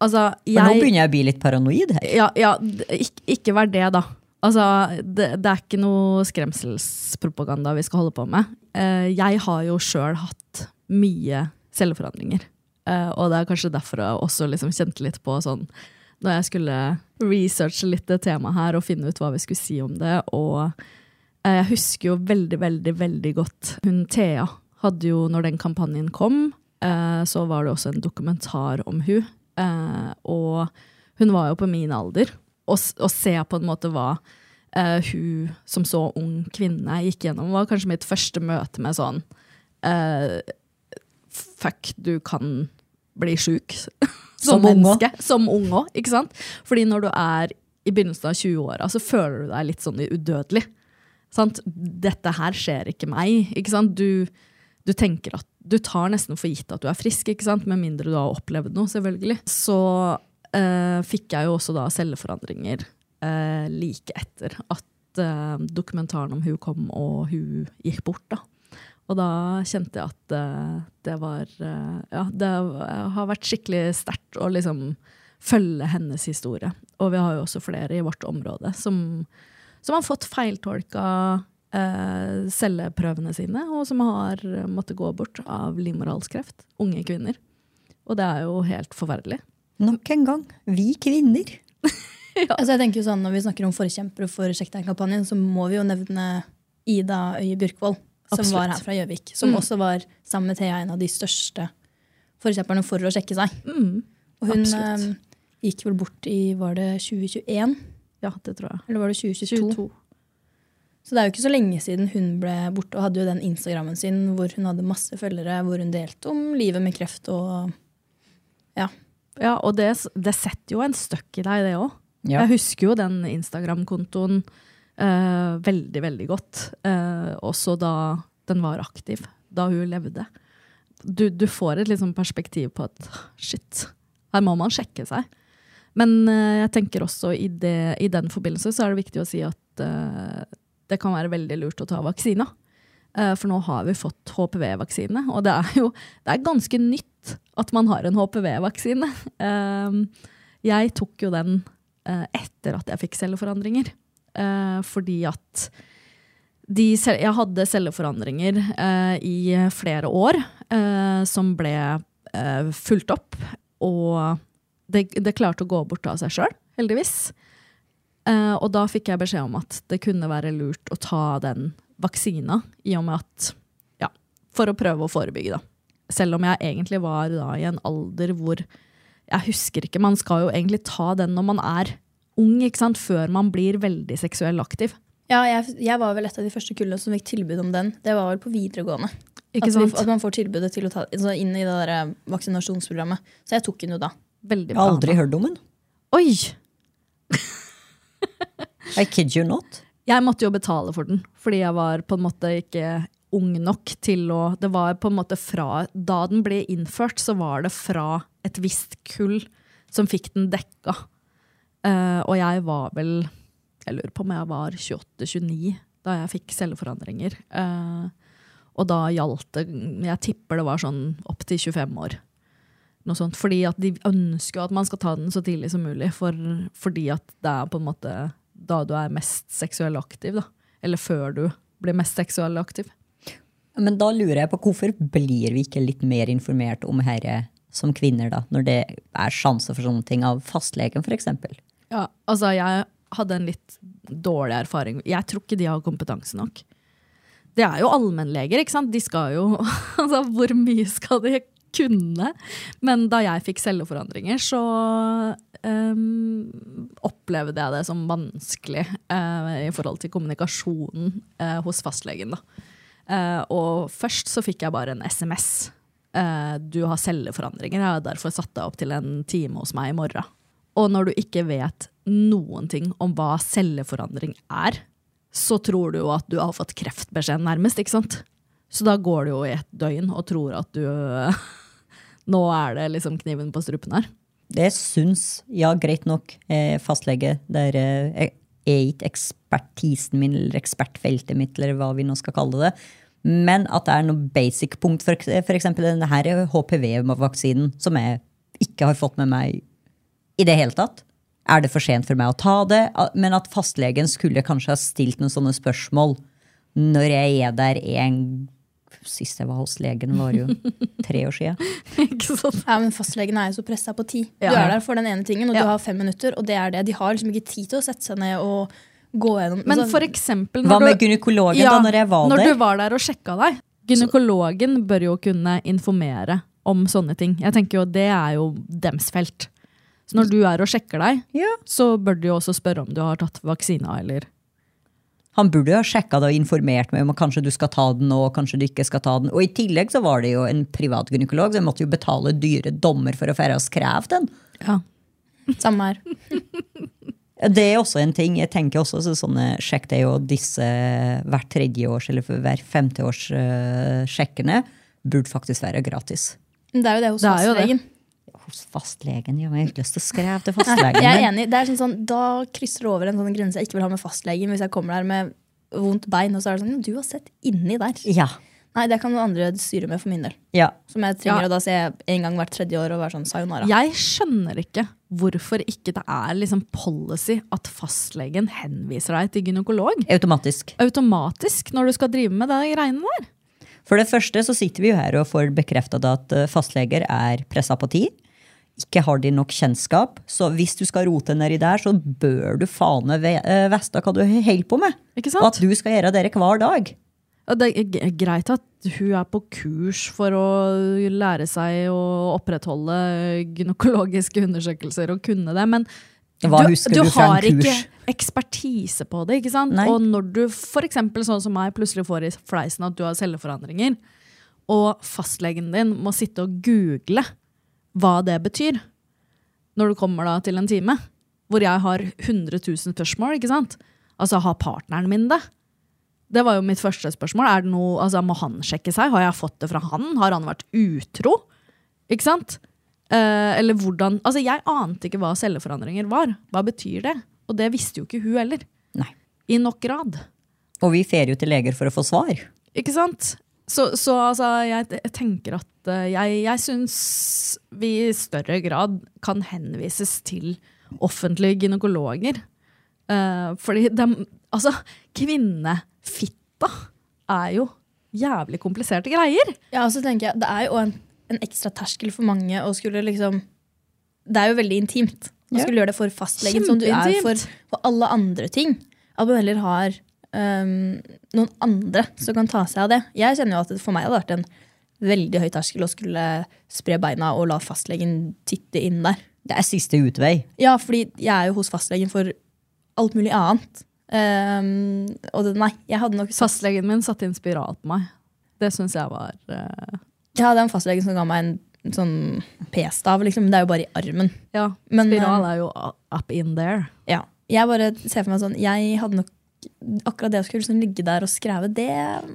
[SPEAKER 2] Altså,
[SPEAKER 3] For nå
[SPEAKER 2] jeg
[SPEAKER 3] begynner jeg å bli litt paranoid her.
[SPEAKER 2] Ja, ja d- ikke, ikke vær det, da. Altså, det, det er ikke noe skremselspropaganda vi skal holde på med. Eh, jeg har jo sjøl hatt mye celleforandringer. Eh, og det er kanskje derfor jeg også liksom kjente litt på sånn Når jeg skulle researche litt det temaet her og finne ut hva vi skulle si om det, og eh, jeg husker jo veldig, veldig, veldig godt hun Thea hadde jo, når den kampanjen kom, eh, så var det også en dokumentar om hun. Eh, og hun var jo på min alder, og, s- og se på en måte hva eh, hun som så ung kvinne gikk gjennom, var kanskje mitt første møte med sånn eh, Fuck, du kan bli sjuk som,
[SPEAKER 3] Som ung
[SPEAKER 2] menneske. Som ung òg, ikke sant? Fordi når du er i begynnelsen av 20-åra, så føler du deg litt sånn udødelig. Sant? Dette her skjer ikke meg. Ikke sant? Du, du tenker at du tar nesten for gitt at du er frisk, ikke sant? med mindre du har opplevd noe, selvfølgelig. Så eh, fikk jeg jo også da celleforandringer eh, like etter at eh, dokumentaren om hun kom og hun gikk bort. da. Og da kjente jeg at eh, det var eh, Ja, det har vært skikkelig sterkt å liksom følge hennes historie. Og vi har jo også flere i vårt område som, som har fått feiltolka eh, celleprøvene sine, og som har måttet gå bort av livmorhalskreft. Unge kvinner. Og det er jo helt forferdelig.
[SPEAKER 3] Nok en gang. Vi kvinner.
[SPEAKER 4] Altså, jeg tenker jo sånn, Når vi snakker om forkjempere for Sjekk deg-kampanjen, så må vi jo nevne Ida Øye Bjørkvold, som
[SPEAKER 2] Absolutt.
[SPEAKER 4] var her fra Gjøvik. Som
[SPEAKER 2] Mm.
[SPEAKER 4] også var, sammen med Thea, en av de største forkjemperne for å sjekke seg.
[SPEAKER 2] Mm.
[SPEAKER 4] Og hun
[SPEAKER 2] Absolutt.
[SPEAKER 4] eh, gikk vel bort i Var det 2021?
[SPEAKER 2] Ja, det tror jeg.
[SPEAKER 4] Eller var det 2022? Så det er jo ikke så lenge siden hun ble borte og hadde jo den Instagrammen sin hvor hun hadde masse følgere, hvor hun delte om livet med kreft og
[SPEAKER 2] Ja, og det, det setter jo en støkk i deg, det òg.
[SPEAKER 3] Ja.
[SPEAKER 2] Jeg husker jo den Instagram-kontoen eh, veldig, veldig godt. Eh, også da den var aktiv, da hun levde. Du, du får et litt sånn perspektiv på at shit, her må man sjekke seg. Men eh, jeg tenker også i, det, i den forbindelse så er det viktig å si at eh, det kan være veldig lurt å ta vaksina. Eh, for nå har vi fått HPV-vaksine, og det er jo det er ganske nytt at man har en HPV-vaksine. Eh, jeg tok jo den eh, etter at jeg fikk celleforandringer. Eh, fordi at de, cell- jeg hadde celleforandringer eh, i flere år eh, som ble eh, fulgt opp. Og det, det klarte å gå bort av seg sjøl, heldigvis. Eh, og da fikk jeg beskjed om at det kunne være lurt å ta den vaksina, i og med at Ja, for å prøve å forebygge, da. Selv om jeg egentlig var da i en alder hvor jeg husker ikke, Man skal jo egentlig ta den når man er ung, ikke sant? før man blir veldig seksuell aktiv.
[SPEAKER 4] Ja, jeg, jeg var vel et av de første kullene som fikk tilbud om den. Det var vel på videregående.
[SPEAKER 2] Ikke
[SPEAKER 4] at, vi,
[SPEAKER 2] sant?
[SPEAKER 4] at man får tilbudet til å ta så inn i det der eh, vaksinasjonsprogrammet. Så jeg tok den jo da.
[SPEAKER 2] Veldig
[SPEAKER 3] Jeg har
[SPEAKER 2] bra.
[SPEAKER 3] aldri hørt om den.
[SPEAKER 2] Oi!
[SPEAKER 3] I kid you not.
[SPEAKER 2] Jeg måtte jo betale for den, fordi jeg var på en måte ikke ung nok til å Det var på en måte fra Da den ble innført, så var det fra et visst kull som fikk den dekka. Eh, og jeg var vel Jeg lurer på om jeg var 28-29 da jeg fikk celleforandringer. Eh, og da gjaldt det Jeg tipper det var sånn opp til 25 år. Noe sånt. Fordi at de ønsker jo at man skal ta den så tidlig som mulig. For, fordi at det er på en måte da du er mest seksuell aktiv. Da. Eller før du blir mest seksuell aktiv.
[SPEAKER 3] Men da lurer jeg på hvorfor blir vi ikke litt mer informert om herre som kvinner, da? Når det er sjanse for sånne ting av fastlegen, f.eks.
[SPEAKER 2] Ja, altså jeg hadde en litt dårlig erfaring. Jeg tror ikke de har kompetanse nok. Det er jo allmennleger, ikke sant? De skal jo Altså, hvor mye skal de kunne? Men da jeg fikk celleforandringer, så ehm, opplevde jeg det som vanskelig eh, i forhold til kommunikasjonen eh, hos fastlegen, da. Eh, og først så fikk jeg bare en SMS. Eh, du har celleforandringer, jeg har derfor satt deg opp til en time hos meg i morgen. Og når du ikke vet noen ting om hva celleforandring er, så tror du jo at du har fått kreftbeskjed nærmest, ikke sant? Så da går du jo i et døgn og tror at du Nå er det liksom kniven på strupen her.
[SPEAKER 3] Det syns, ja, greit nok, eh, fastlege. Der eh, er ikke ekspertisen min eller ekspertfeltet mitt, eller hva vi nå skal kalle det. Men at det er noe basic punkt, f.eks. denne her HPV-vaksinen, som jeg ikke har fått med meg i det hele tatt. Er det for sent for meg å ta det? A- Men at fastlegen skulle kanskje ha stilt noen sånne spørsmål når jeg er der en Sist jeg var hos legen, var jo tre år sia.
[SPEAKER 2] ikke sant?
[SPEAKER 4] Ja, men Fastlegen er jo så pressa på tid.
[SPEAKER 2] Ja.
[SPEAKER 4] Du er der for den ene tingen, og
[SPEAKER 2] Ja.
[SPEAKER 4] du har fem minutter. og det er det. De har liksom ikke tid til å sette seg ned og gå gjennom
[SPEAKER 2] Men
[SPEAKER 4] altså,
[SPEAKER 2] for eksempel
[SPEAKER 3] Sånn, Hva
[SPEAKER 2] når
[SPEAKER 3] med
[SPEAKER 2] du-
[SPEAKER 3] gynekologen da når jeg var
[SPEAKER 2] når
[SPEAKER 3] der?
[SPEAKER 2] du var der og sjekka deg. Gynekologen bør jo kunne informere om sånne ting. Jeg tenker jo Det er jo dems felt. Så når du er og sjekker deg,
[SPEAKER 3] Ja.
[SPEAKER 2] så bør du jo også spørre om du har tatt vaksina eller
[SPEAKER 3] Han burde jo ha sjekka det og informert meg om at kanskje du skal ta den nå, og kanskje du ikke skal ta den. Og i tillegg så var det jo en privat gynekolog, så jeg måtte jo betale dyre dommer for å få oss kreve den.
[SPEAKER 2] ja.
[SPEAKER 4] Samme her.
[SPEAKER 3] Det er også en ting. Jeg tenker også så sånne sjekk det er jo disse hvert tredje års eller for hver femte års eh, sjekkene burde faktisk være gratis.
[SPEAKER 4] Men det er jo det hos
[SPEAKER 2] Det er jo det.
[SPEAKER 4] fastlegen.
[SPEAKER 3] Hos fastlegen, ja, men jeg har ikke lyst til å skreve til
[SPEAKER 4] Nei,
[SPEAKER 3] fastlegen.
[SPEAKER 4] jeg er
[SPEAKER 3] men-
[SPEAKER 4] enig. Det er sånn, sånn, da krysser det over en sånn grense jeg ikke vil ha med fastlegen. Hvis jeg kommer der med vondt bein, og så er det sånn Du har sett inni der.
[SPEAKER 3] Ja,
[SPEAKER 4] Nei, det kan noen andre styre med for min del.
[SPEAKER 3] ja.
[SPEAKER 4] Som jeg
[SPEAKER 2] Ja.
[SPEAKER 4] trenger å da se en gang hvert tredje år og være sånn sayonara.
[SPEAKER 2] Jeg skjønner ikke hvorfor ikke det er liksom policy at fastlegen henviser deg til gynekolog
[SPEAKER 3] Automatisk.
[SPEAKER 2] automatisk når du skal drive med de greiene der.
[SPEAKER 3] For det første så sitter vi jo her og får bekrefta at eh, fastleger er pressa på tid. Ikke har de nok kjennskap. Så hvis du skal rote nedi der, så bør du faen meg ve- eh, vite hva du holder på med.
[SPEAKER 2] Ikke
[SPEAKER 3] Og
[SPEAKER 2] sant?
[SPEAKER 3] at du skal gjøre det hver dag.
[SPEAKER 2] Og Det er g- greit at hun er på kurs for å lære seg å opprettholde gynekologiske undersøkelser og kunne det, men
[SPEAKER 3] Hva husker du fra en
[SPEAKER 2] har ikke
[SPEAKER 3] kurs?
[SPEAKER 2] ekspertise på det. ikke sant?
[SPEAKER 3] Nei.
[SPEAKER 2] Og når du f.eks. sånn som meg plutselig får i fleisen at du har celleforandringer, og fastlegen din må sitte og google hva det betyr, når du kommer da til en time, hvor jeg har 100 000 spørsmål. ikke sant? Altså, har partneren min det? Det var jo mitt første spørsmål. Er det noe, altså, må han sjekke seg? Har jeg fått det fra han? Har han vært utro? Ikke sant? Eh, eller hvordan Altså, jeg ante ikke hva celleforandringer var. Hva betyr det? Og det visste jo ikke hun heller.
[SPEAKER 3] Nei.
[SPEAKER 2] I nok grad.
[SPEAKER 3] Og vi fer jo til leger for å få svar.
[SPEAKER 2] Ikke sant? Så, så altså, jeg, jeg tenker at eh, jeg, jeg syns vi i større grad kan henvises til offentlige gynekologer. Eh, fordi dem, altså, kvinnefitta er jo jævlig kompliserte greier.
[SPEAKER 4] Ja, og så tenker jeg, Det er jo en, en ekstra terskel for mange å skulle liksom Det er jo veldig intimt. Å
[SPEAKER 3] Ja.
[SPEAKER 4] skulle gjøre det for fastlegen som du er
[SPEAKER 2] Kjempeintimt.
[SPEAKER 4] for, for alle andre ting. At man heller har øhm, noen andre som kan ta seg av det. Jeg kjenner jo at det for meg hadde vært en veldig høy terskel å skulle spre beina og la fastlegen titte inn der.
[SPEAKER 3] Det er siste utvei.
[SPEAKER 4] Ja, fordi jeg er jo hos fastlegen for alt mulig annet. Øhm, og det, nei, jeg hadde nok satt
[SPEAKER 2] Fastlegen min satte en spiral på meg. Det syns jeg var eh,
[SPEAKER 4] Jeg hadde en fastlege som ga meg en sånn p-stav, liksom. Men det er jo bare i armen.
[SPEAKER 2] Ja,
[SPEAKER 4] Men,
[SPEAKER 2] spiral er jo up in there.
[SPEAKER 4] Ja. Jeg bare ser for meg sånn Jeg hadde nok akkurat det å skulle liksom ligge der og skreve det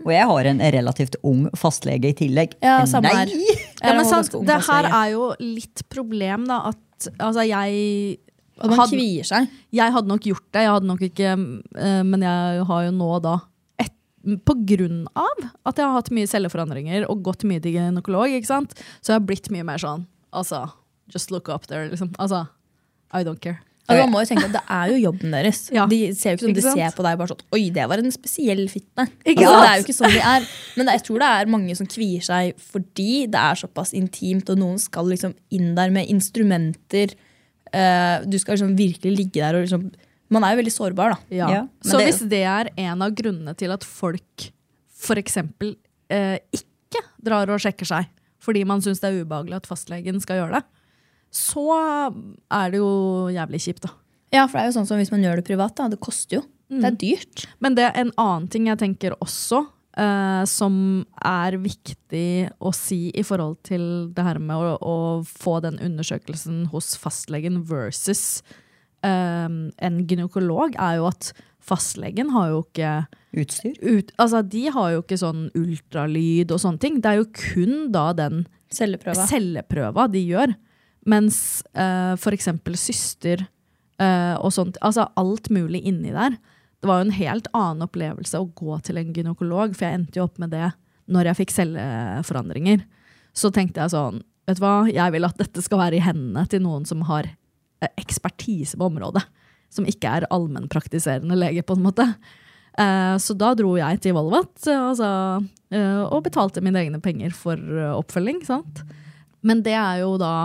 [SPEAKER 3] Og jeg har en relativt ung fastlege i tillegg.
[SPEAKER 4] Ja, samme
[SPEAKER 3] Nei!
[SPEAKER 4] her.
[SPEAKER 2] Ja, men sant,
[SPEAKER 4] ganske ung
[SPEAKER 2] det her
[SPEAKER 4] fastlege.
[SPEAKER 2] er jo litt problem, da, at altså, jeg
[SPEAKER 4] Og man
[SPEAKER 2] hadde-
[SPEAKER 4] kvier seg.
[SPEAKER 2] jeg hadde nok gjort det, jeg hadde nok ikke, eh, men jeg har jo nå da et, På grunn av at jeg har hatt mye celleforandringer og gått mye til gynekolog, ikke sant? så jeg har blitt mye mer sånn altså, Just look up there, liksom. Altså, I don't care.
[SPEAKER 4] Altså, man må jo tenke at Det er jo jobben deres.
[SPEAKER 2] Ja.
[SPEAKER 4] De ser jo ikke sånn,
[SPEAKER 2] Ikke
[SPEAKER 4] de
[SPEAKER 2] sant?
[SPEAKER 4] ser på deg bare sånn Oi, det var en spesiell fitte.
[SPEAKER 2] Ikke
[SPEAKER 4] Altså,
[SPEAKER 2] sant?
[SPEAKER 4] det er jo ikke sånn de er. Men det, jeg tror det er mange som kvier seg fordi det er såpass intimt, og noen skal liksom inn der med instrumenter. Eh, du skal liksom virkelig ligge der og liksom Man er jo veldig sårbar, da.
[SPEAKER 2] Ja.
[SPEAKER 3] Ja, men
[SPEAKER 2] så
[SPEAKER 3] det-
[SPEAKER 2] hvis det er en av grunnene til at folk f.eks. Eh, ikke drar og sjekker seg fordi man syns det er ubehagelig at fastlegen skal gjøre det, så er det jo jævlig kjipt, da.
[SPEAKER 4] Ja, for det er jo sånn som hvis man gjør det privat, da. Det koster jo.
[SPEAKER 2] Mm.
[SPEAKER 4] Det er dyrt.
[SPEAKER 2] Men det er en annen ting jeg tenker også, eh, som er viktig å si i forhold til det her med å, å få den undersøkelsen hos fastlegen versus eh, en gynekolog, er jo at fastlegen har jo ikke
[SPEAKER 3] Utstyr.
[SPEAKER 2] ut, altså De har jo ikke sånn ultralyd og sånne ting. Det er jo kun da den
[SPEAKER 4] Celleprøva.
[SPEAKER 2] celleprøva de gjør. Mens eh, for eksempel søster eh, og sånt, altså alt mulig inni der. Det var jo en helt annen opplevelse å gå til en gynekolog, for jeg endte jo opp med det når jeg fikk celleforandringer. Så tenkte jeg sånn, vet du hva, jeg vil at dette skal være i hendene til noen som har eh, ekspertise på området. Som ikke er allmennpraktiserende lege, på en måte. Eh, Så da dro jeg til Volvat eh, altså, eh, og betalte mine egne penger for eh, oppfølging. Sant? Men det er jo da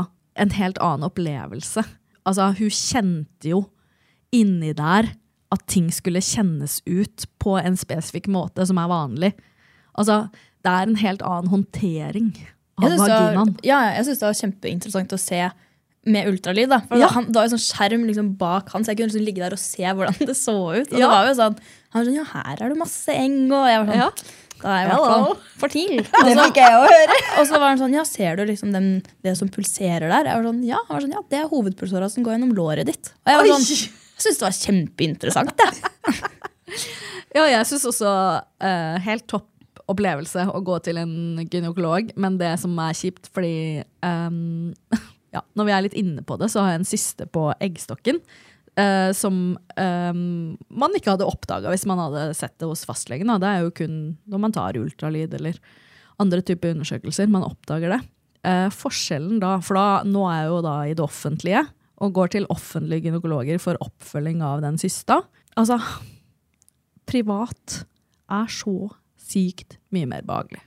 [SPEAKER 2] en helt annen opplevelse. Altså, hun kjente jo inni der at ting skulle kjennes ut på en spesifikk måte som er vanlig. Altså, det er en helt annen håndtering av
[SPEAKER 4] Jeg synes det var-
[SPEAKER 2] vaginaen.
[SPEAKER 4] Ja, ja, jeg syns det var kjempeinteressant å se med ultralyd. Da. For
[SPEAKER 2] Ja.
[SPEAKER 4] han, det var jo sånn skjerm liksom bak han, så jeg kunne liksom ligge der og se hvordan det så ut. Og det
[SPEAKER 2] Ja.
[SPEAKER 4] var jo sånn, Han var sånn Ja, her er det masse eng, og jeg var sånn
[SPEAKER 2] Ja.
[SPEAKER 4] Da er jeg i hvert
[SPEAKER 2] Hello.
[SPEAKER 4] fall fertil.
[SPEAKER 3] Det fikk jeg å høre!
[SPEAKER 4] Og så var han sånn Ja, ser du liksom den, det som pulserer der? Jeg var sånn, ja. Han var sånn, ja, det er hovedpulsåra som går gjennom låret ditt. Og jeg var
[SPEAKER 2] Oi.
[SPEAKER 4] sånn, jeg syns det var kjempeinteressant. Jeg.
[SPEAKER 2] Ja, jeg syns også eh, helt topp opplevelse å gå til en gynekolog, men det som er kjipt, fordi ehm, ja, når vi er litt inne på det, så har jeg en syster på eggstokken. eh, som ehm, man ikke hadde oppdaga hvis man hadde sett det hos fastlegen. Da. Det er jo kun når man tar ultralyd eller andre typer undersøkelser man oppdager det. Eh, forskjellen da, for da, nå er jeg jo da i det offentlige og går til offentlige gynekologer for oppfølging av den systa. Altså, privat er så sykt mye mer behagelig.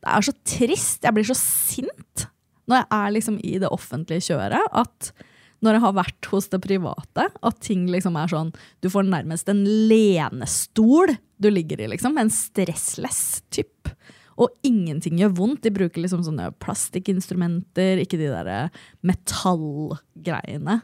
[SPEAKER 2] Det er så trist. Jeg blir så sint når jeg er liksom i det offentlige kjøret. At når jeg har vært hos det private, at ting liksom er sånn Du får nærmest en lenestol du ligger i, liksom. En stressless typ. Og ingenting gjør vondt. De bruker liksom sånne plastikkinstrumenter, ikke de derre metallgreiene.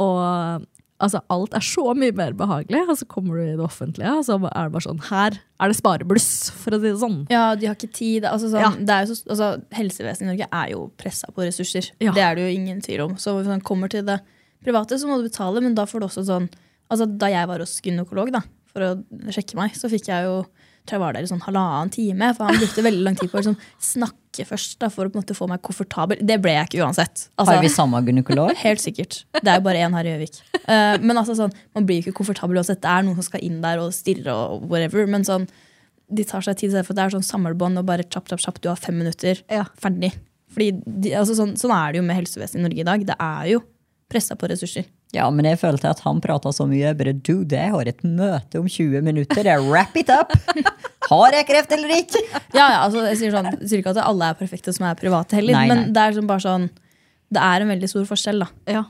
[SPEAKER 2] Og altså, alt er så mye mer behagelig, og så kommer du i det offentlige, og så er det bare sånn Her er det sparebluss, for å si det sånn.
[SPEAKER 4] Ja, de har ikke tid. Altså, sånn,
[SPEAKER 2] Ja.
[SPEAKER 4] det er jo så, altså, helsevesenet i Norge er jo pressa på ressurser.
[SPEAKER 2] Ja.
[SPEAKER 4] Det er det jo ingen tvil om. Så hvis man kommer til det private så må du betale, men da får du også sånn Altså da jeg var hos gynekolog da, for å sjekke meg, så fikk jeg jo tror jeg var der i sånn halvannen time, for han brukte veldig lang tid på å liksom snakke først da, for å på en måte få meg komfortabel. Det ble jeg ikke uansett. Altså,
[SPEAKER 3] Har vi samme gynekolog?
[SPEAKER 4] Helt sikkert. Det er jo bare én her i Gjøvik. Eh, men altså sånn, man blir jo ikke komfortabel uansett. Det er noen som skal inn der og stirre og whatever. Men sånn, de tar seg tid, for det er sånn samlebånd og bare kjapp, kjapp, kjapp, du har fem minutter. Ferdig. Fordi de, altså sånn, sånn er det jo med helsevesenet i Norge i dag. Det er jo pressa på ressurser.
[SPEAKER 3] Ja, men jeg følte at han prata så mye. Jeg bare dude, jeg har et møte om 20 minutter. Jeg wrap it up! Har jeg kreft eller ikke?
[SPEAKER 4] Ja, ja, altså, jeg sier sånn, jeg sier ikke at alle er perfekte som er private heller,
[SPEAKER 3] Nei, nei.
[SPEAKER 4] men det er sånn, bare sånn Det er en veldig stor forskjell, da.
[SPEAKER 2] Ja.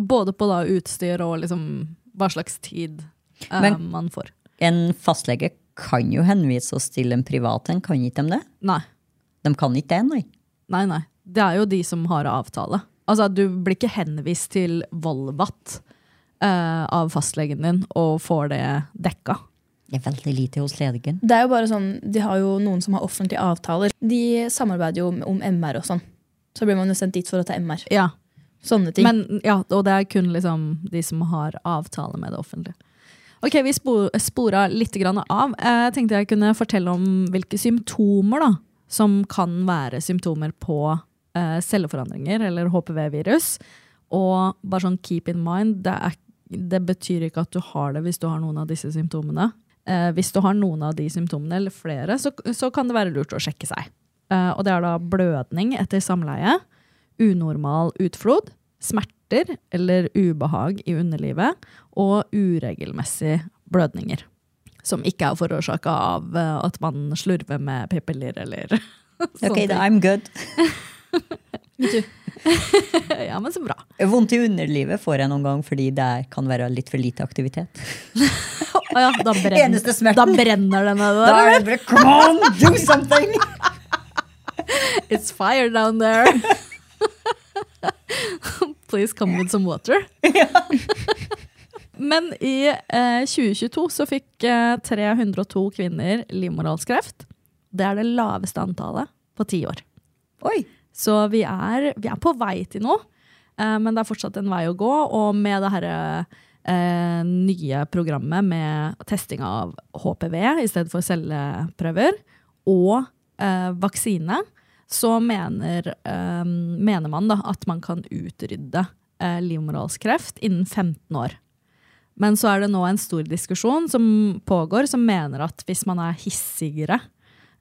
[SPEAKER 2] Både på da utstyr og liksom hva slags tid eh,
[SPEAKER 3] Men-
[SPEAKER 2] man får.
[SPEAKER 3] En fastlege kan jo henvise oss til en privat en, kan ikke de det?
[SPEAKER 2] Nei.
[SPEAKER 3] De kan ikke det, nei.
[SPEAKER 2] Nei, nei. Det er jo de som har avtale. Altså, du blir ikke henvist til Volvat eh, av fastlegen din og får det dekka.
[SPEAKER 3] Det er veldig lite hos legen.
[SPEAKER 4] Det er jo bare sånn, De har jo noen som har offentlige avtaler. De samarbeider jo om, om MR og sånn. Så blir man jo sendt dit for å ta MR.
[SPEAKER 2] Ja,
[SPEAKER 4] Sånne ting.
[SPEAKER 2] men, ja Og det er kun liksom de som har avtale med det offentlige. Ok, Vi spo- spora litt grann av. Eh, Jeg tenkte jeg kunne fortelle om hvilke symptomer da, som kan være symptomer på eh, celleforandringer eller HPV-virus. Og bare sånn keep in mind, det, er, det betyr ikke at du har det hvis du har noen av disse symptomene. Eh, hvis du har noen av de symptomene eller flere, så, så kan det være lurt å sjekke seg. Eh, og det er da blødning etter samleie, unormal utflod, smerter eller ubehag i underlivet og uregelmessige blødninger. Som ikke er forårsaka av eh, at man slurver med p-piller eller sånne
[SPEAKER 3] Ok, da,
[SPEAKER 2] ting.
[SPEAKER 3] I'm good.
[SPEAKER 2] Ja, men så bra.
[SPEAKER 3] Vondt i underlivet får jeg noen gang fordi det er- kan være litt for lite aktivitet.
[SPEAKER 2] Å ja, da
[SPEAKER 3] Eneste
[SPEAKER 2] brenner,
[SPEAKER 3] smerten.
[SPEAKER 2] da brenner den der.
[SPEAKER 3] Da er det bare come on, do something!
[SPEAKER 2] It's fire down there. Please come with some water. Men i eh, 2022 så fikk eh, 302 kvinner livmorhalskreft. Det er det laveste antallet på ti år.
[SPEAKER 3] Oi,
[SPEAKER 2] Så vi er, vi er på vei til noe, eh, men det er fortsatt en vei å gå. Og med det her, eh, nye programmet med testing av HPV i stedet for celleprøver, og eh, vaksine, så mener, eh, mener man da at man kan utrydde eh, livmorhalskreft innen 15 år. Men så er det nå en stor diskusjon som pågår, som mener at hvis man er hissigere,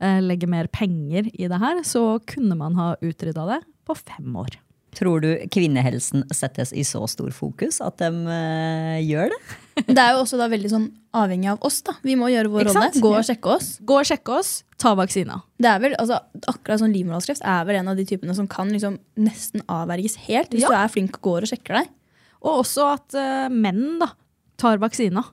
[SPEAKER 2] eh, legger mer penger i det her, så kunne man ha utrydda det på fem år.
[SPEAKER 3] tror du kvinnehelsen settes i så stor fokus at de eh, gjør det?
[SPEAKER 4] Det er jo også da veldig sånn avhengig av oss. da. Vi må gjøre vår
[SPEAKER 2] Ikke
[SPEAKER 4] rolle.
[SPEAKER 2] sant?
[SPEAKER 4] Gå og sjekke oss.
[SPEAKER 2] Gå og sjekke oss, ta vaksina.
[SPEAKER 4] Det er vel, altså, Akkurat sånn livmorhalskreft er vel en av de typene som kan liksom nesten avverges helt hvis
[SPEAKER 2] Ja.
[SPEAKER 4] du er flink og går og sjekker deg.
[SPEAKER 2] Og også at eh, menn da, tar vaksina.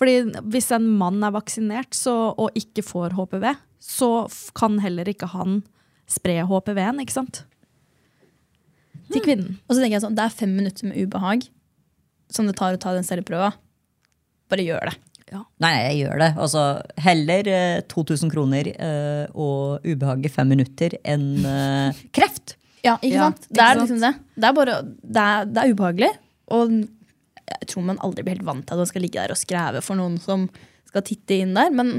[SPEAKER 2] Fordi hvis en mann er vaksinert så, og ikke får HPV, så f- kan heller ikke han spre HPV-en, ikke sant? Til kvinnen.
[SPEAKER 4] Og så tenker jeg sånn, Det er fem minutter med ubehag som det tar å ta den celleprøva. Bare gjør det.
[SPEAKER 3] Nei, nei, jeg gjør det. Altså, heller eh, 2000 kroner eh, og ubehag i fem minutter enn eh, kreft.
[SPEAKER 4] Ja, ikke
[SPEAKER 2] Ja,
[SPEAKER 4] sant? Det er
[SPEAKER 2] ikke
[SPEAKER 4] liksom det. Det er, bare, det, er, det er ubehagelig. Og jeg tror man aldri blir helt vant til at man skal ligge der og skreve for noen som skal titte inn der, men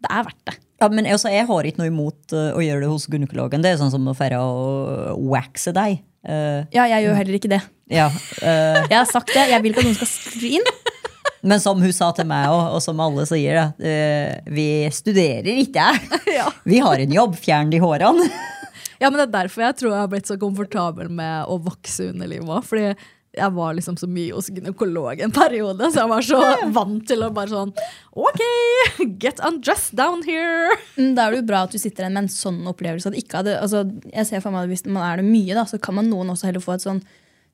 [SPEAKER 4] det er verdt det.
[SPEAKER 3] Ja, men altså, Jeg har ikke noe imot eh, å gjøre det hos gynekologen. Det er sånn som å fære og waxe deg. Eh,
[SPEAKER 4] Ja, jeg gjør heller ikke det.
[SPEAKER 3] ja, eh,
[SPEAKER 4] Jeg har sagt det. Jeg vil ikke at noen skal skrive inn.
[SPEAKER 3] men som hun sa til meg òg, og som alle sier, da, eh, vi studerer ikke. Vi har en jobb, fjern de hårene.
[SPEAKER 2] Ja, men det er derfor jeg tror jeg har blitt så komfortabel med å vokse underlivet òg. Fordi jeg var liksom så mye hos gynekolog en periode, så jeg var så vant til å bare sånn OK, get undressed down here.
[SPEAKER 4] Mm, Da er det jo bra at du sitter igjen med en sånn opplevelse. At ikke hadde, altså, jeg ser for meg at Hvis man er det mye, da, så kan man noen også heller få et sånn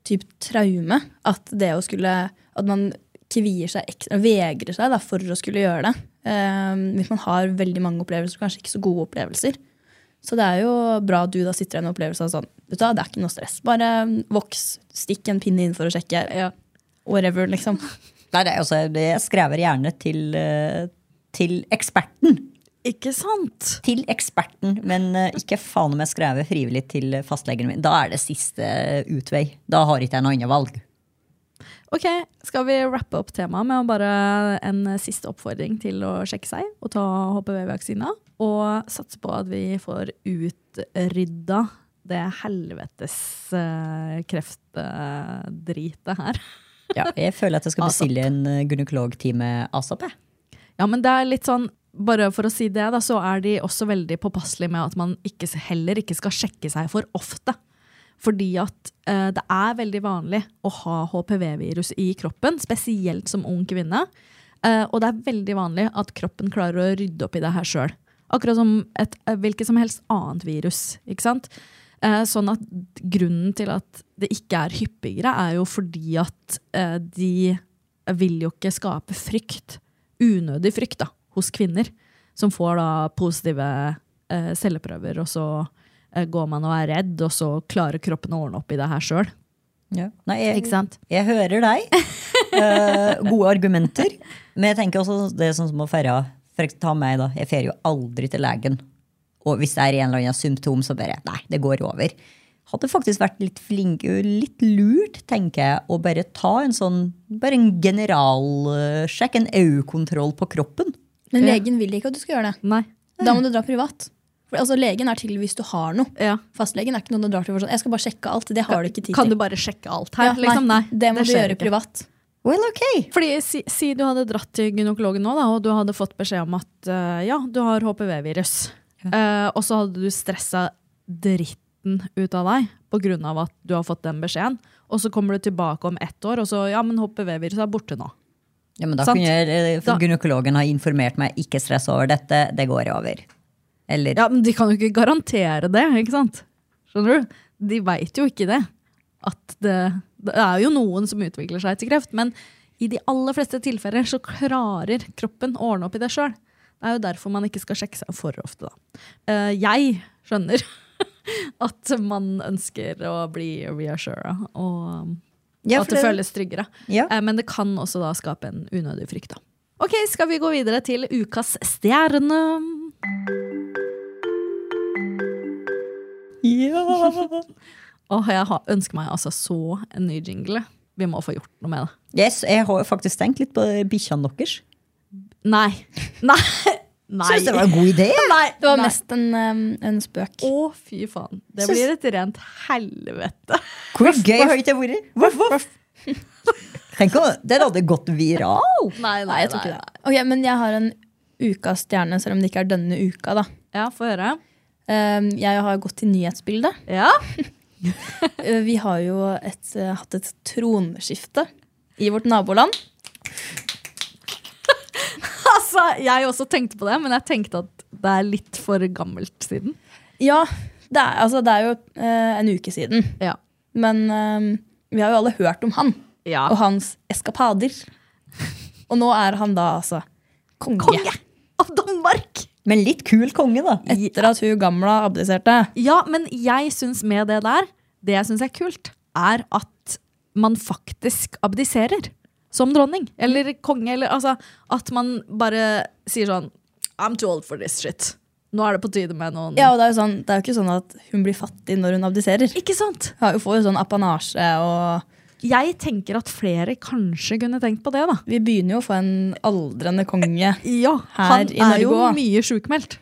[SPEAKER 4] typ traume. At det å skulle At man kvier seg ekstra, vegrer seg da, for å skulle gjøre det. Ehm, hvis man har veldig mange opplevelser, kanskje ikke så gode opplevelser. Så det er jo bra at du da sitter igjen med opplevelsen av sånn vet du, hva, Det er ikke noe stress. Bare voks, stikk en pinne inn for å sjekke. Whatever, liksom.
[SPEAKER 3] Nei, det, er altså, Jeg skrever gjerne til, eh, til eksperten.
[SPEAKER 2] Ikke sant?
[SPEAKER 3] Til eksperten, men eh, ikke faen om jeg eh, skrev frivillig til fastlegen min. Da er det siste utvei. Da har ikke jeg noe annet valg.
[SPEAKER 2] Ok, skal vi rappe opp temaet med å bare en siste oppfordring til å sjekke seg og ta HPV-vaksina? Og satse på at vi får utrydda det helvetes eh, kreftdritet her.
[SPEAKER 3] Ja, jeg føler at jeg skal bestille en eh, gynekologtime asap. jeg.
[SPEAKER 2] Ja, men det er litt sånn bare for å si det, da, så er de også veldig påpasselige med at man ikke, heller ikke skal sjekke seg for ofte. Fordi at eh, det er veldig vanlig å ha HPV-virus i kroppen, spesielt som ung kvinne. Eh, og det er veldig vanlig at kroppen klarer å rydde opp i det her sjøl. Akkurat som et eh, hvilket som helst annet virus. ikke sant? Eh, sånn at grunnen til at det ikke er hyppigere, er jo fordi at eh, de vil jo ikke skape frykt unødig frykt da, hos kvinner, som får da positive eh, celleprøver, og så eh, går man og er redd, og så klarer kroppen å ordne opp i det her sjøl.
[SPEAKER 3] Ja. Nei, jeg,
[SPEAKER 2] Ikke sant?
[SPEAKER 3] jeg hører deg. Eh, gode argumenter. Men jeg tenker også det er sånn som å feire For eksempel, ta meg, da. Jeg feirer jo aldri til legen. Og hvis det er en eller annen symptom, så bare Nei, det går over. Hadde faktisk vært litt flink, litt lurt, tenker jeg, å bare ta en sånn Bare en generalsjekk, en øyekontroll på kroppen.
[SPEAKER 4] Men
[SPEAKER 2] Ja.
[SPEAKER 4] legen vil ikke at du skal gjøre det.
[SPEAKER 2] Nei.
[SPEAKER 4] Da må du dra privat. For, altså, legen er til hvis du har noe.
[SPEAKER 2] Ja.
[SPEAKER 4] Fastlegen er ikke noen du drar til for sånn. Jeg skal bare sjekke alt. Det har du ikke tid til.
[SPEAKER 2] Kan du bare sjekke alt her?
[SPEAKER 4] Ja,
[SPEAKER 2] liksom? Nei,
[SPEAKER 4] det må du
[SPEAKER 2] skjer
[SPEAKER 4] gjøre
[SPEAKER 2] ikke.
[SPEAKER 4] privat.
[SPEAKER 3] Well, ok!
[SPEAKER 2] Fordi si, si du hadde dratt til gynekologen nå, da, og du hadde fått beskjed om at eh, ja, du har HPV-virus. Eh, og så hadde du stressa dritten ut av deg pga. at du har fått den beskjeden. Og så kommer du tilbake om ett år, og så ja, men HPV-viruset er borte nå.
[SPEAKER 3] Ja, men da
[SPEAKER 2] Sant.
[SPEAKER 3] kunne jeg, eh, for
[SPEAKER 2] Da-
[SPEAKER 3] Gynekologen har informert meg ikke stress over dette, det går over. Eller
[SPEAKER 2] Ja, men de kan jo ikke garantere det, ikke sant? Skjønner du? De veit jo ikke det. At det, det er jo noen som utvikler seg til kreft, men i de aller fleste tilfeller så klarer kroppen å ordne opp i det sjøl. Det er jo derfor man ikke skal sjekke seg for ofte, da. Eh, Jeg skjønner at man ønsker å bli reassura, og
[SPEAKER 3] Ja,
[SPEAKER 2] at
[SPEAKER 3] for
[SPEAKER 2] det
[SPEAKER 3] det-
[SPEAKER 2] føles tryggere.
[SPEAKER 3] Ja.
[SPEAKER 2] Eh, Men det kan også da skape en unødig frykt, da. Ok, skal vi gå videre til ukas stjerne? Åh, jeg har, ønsker meg altså så en ny jingle. Vi må få gjort noe med det.
[SPEAKER 3] Yes, jeg har faktisk tenkt litt på bikkjene deres.
[SPEAKER 2] Nei. Nei. Nei.
[SPEAKER 3] Syns det var en god idé!
[SPEAKER 2] Nei.
[SPEAKER 4] Det var
[SPEAKER 2] Nei.
[SPEAKER 4] mest en, um, en spøk.
[SPEAKER 2] Å, fy faen. Det
[SPEAKER 3] Syns-
[SPEAKER 2] blir et rent helvete.
[SPEAKER 3] Hvor gøy har ikke det vært? Voff, voff. Tenk om den hadde gått viral!
[SPEAKER 2] Nei,
[SPEAKER 4] Nei, jeg tror ikke det. Ok, Men jeg har en ukas stjerne, selv om det ikke er denne uka. da.
[SPEAKER 2] Ja, få høre.
[SPEAKER 4] Um, jeg har gått til nyhetsbildet.
[SPEAKER 2] Ja.
[SPEAKER 4] Uh, Vi har jo et, uh, hatt et tronskifte i vårt naboland.
[SPEAKER 2] Altså, jeg også tenkte på det, men jeg tenkte at det er litt for gammelt siden.
[SPEAKER 4] Ja, det er, altså, det er jo eh, en uke siden.
[SPEAKER 2] Ja.
[SPEAKER 4] Men eh, vi har jo alle hørt om han
[SPEAKER 2] Ja.
[SPEAKER 4] og hans eskapader. Og nå er han da altså konge.
[SPEAKER 2] Konge av Danmark!
[SPEAKER 3] Men litt kul konge, da.
[SPEAKER 4] Etter at hun gamla abdiserte.
[SPEAKER 2] Ja, men jeg syns med det der, det jeg syns er kult, er at man faktisk abdiserer som dronning. Eller konge, eller altså At man bare sier sånn I'm too old for this shit. Nå er det på tide med noen
[SPEAKER 4] Ja, og det er, jo sånn, det er jo ikke sånn at hun blir fattig når hun abdiserer.
[SPEAKER 2] Ikke sant?
[SPEAKER 4] Hun har jo- får jo sånn apanasje, og
[SPEAKER 2] Jeg tenker at flere kanskje kunne tenkt på det, da.
[SPEAKER 4] vi begynner jo å få en aldrende konge.
[SPEAKER 2] Ja,
[SPEAKER 4] Her
[SPEAKER 2] Han
[SPEAKER 4] i
[SPEAKER 2] er jo
[SPEAKER 4] Norge også.
[SPEAKER 2] mye sjukmeldt.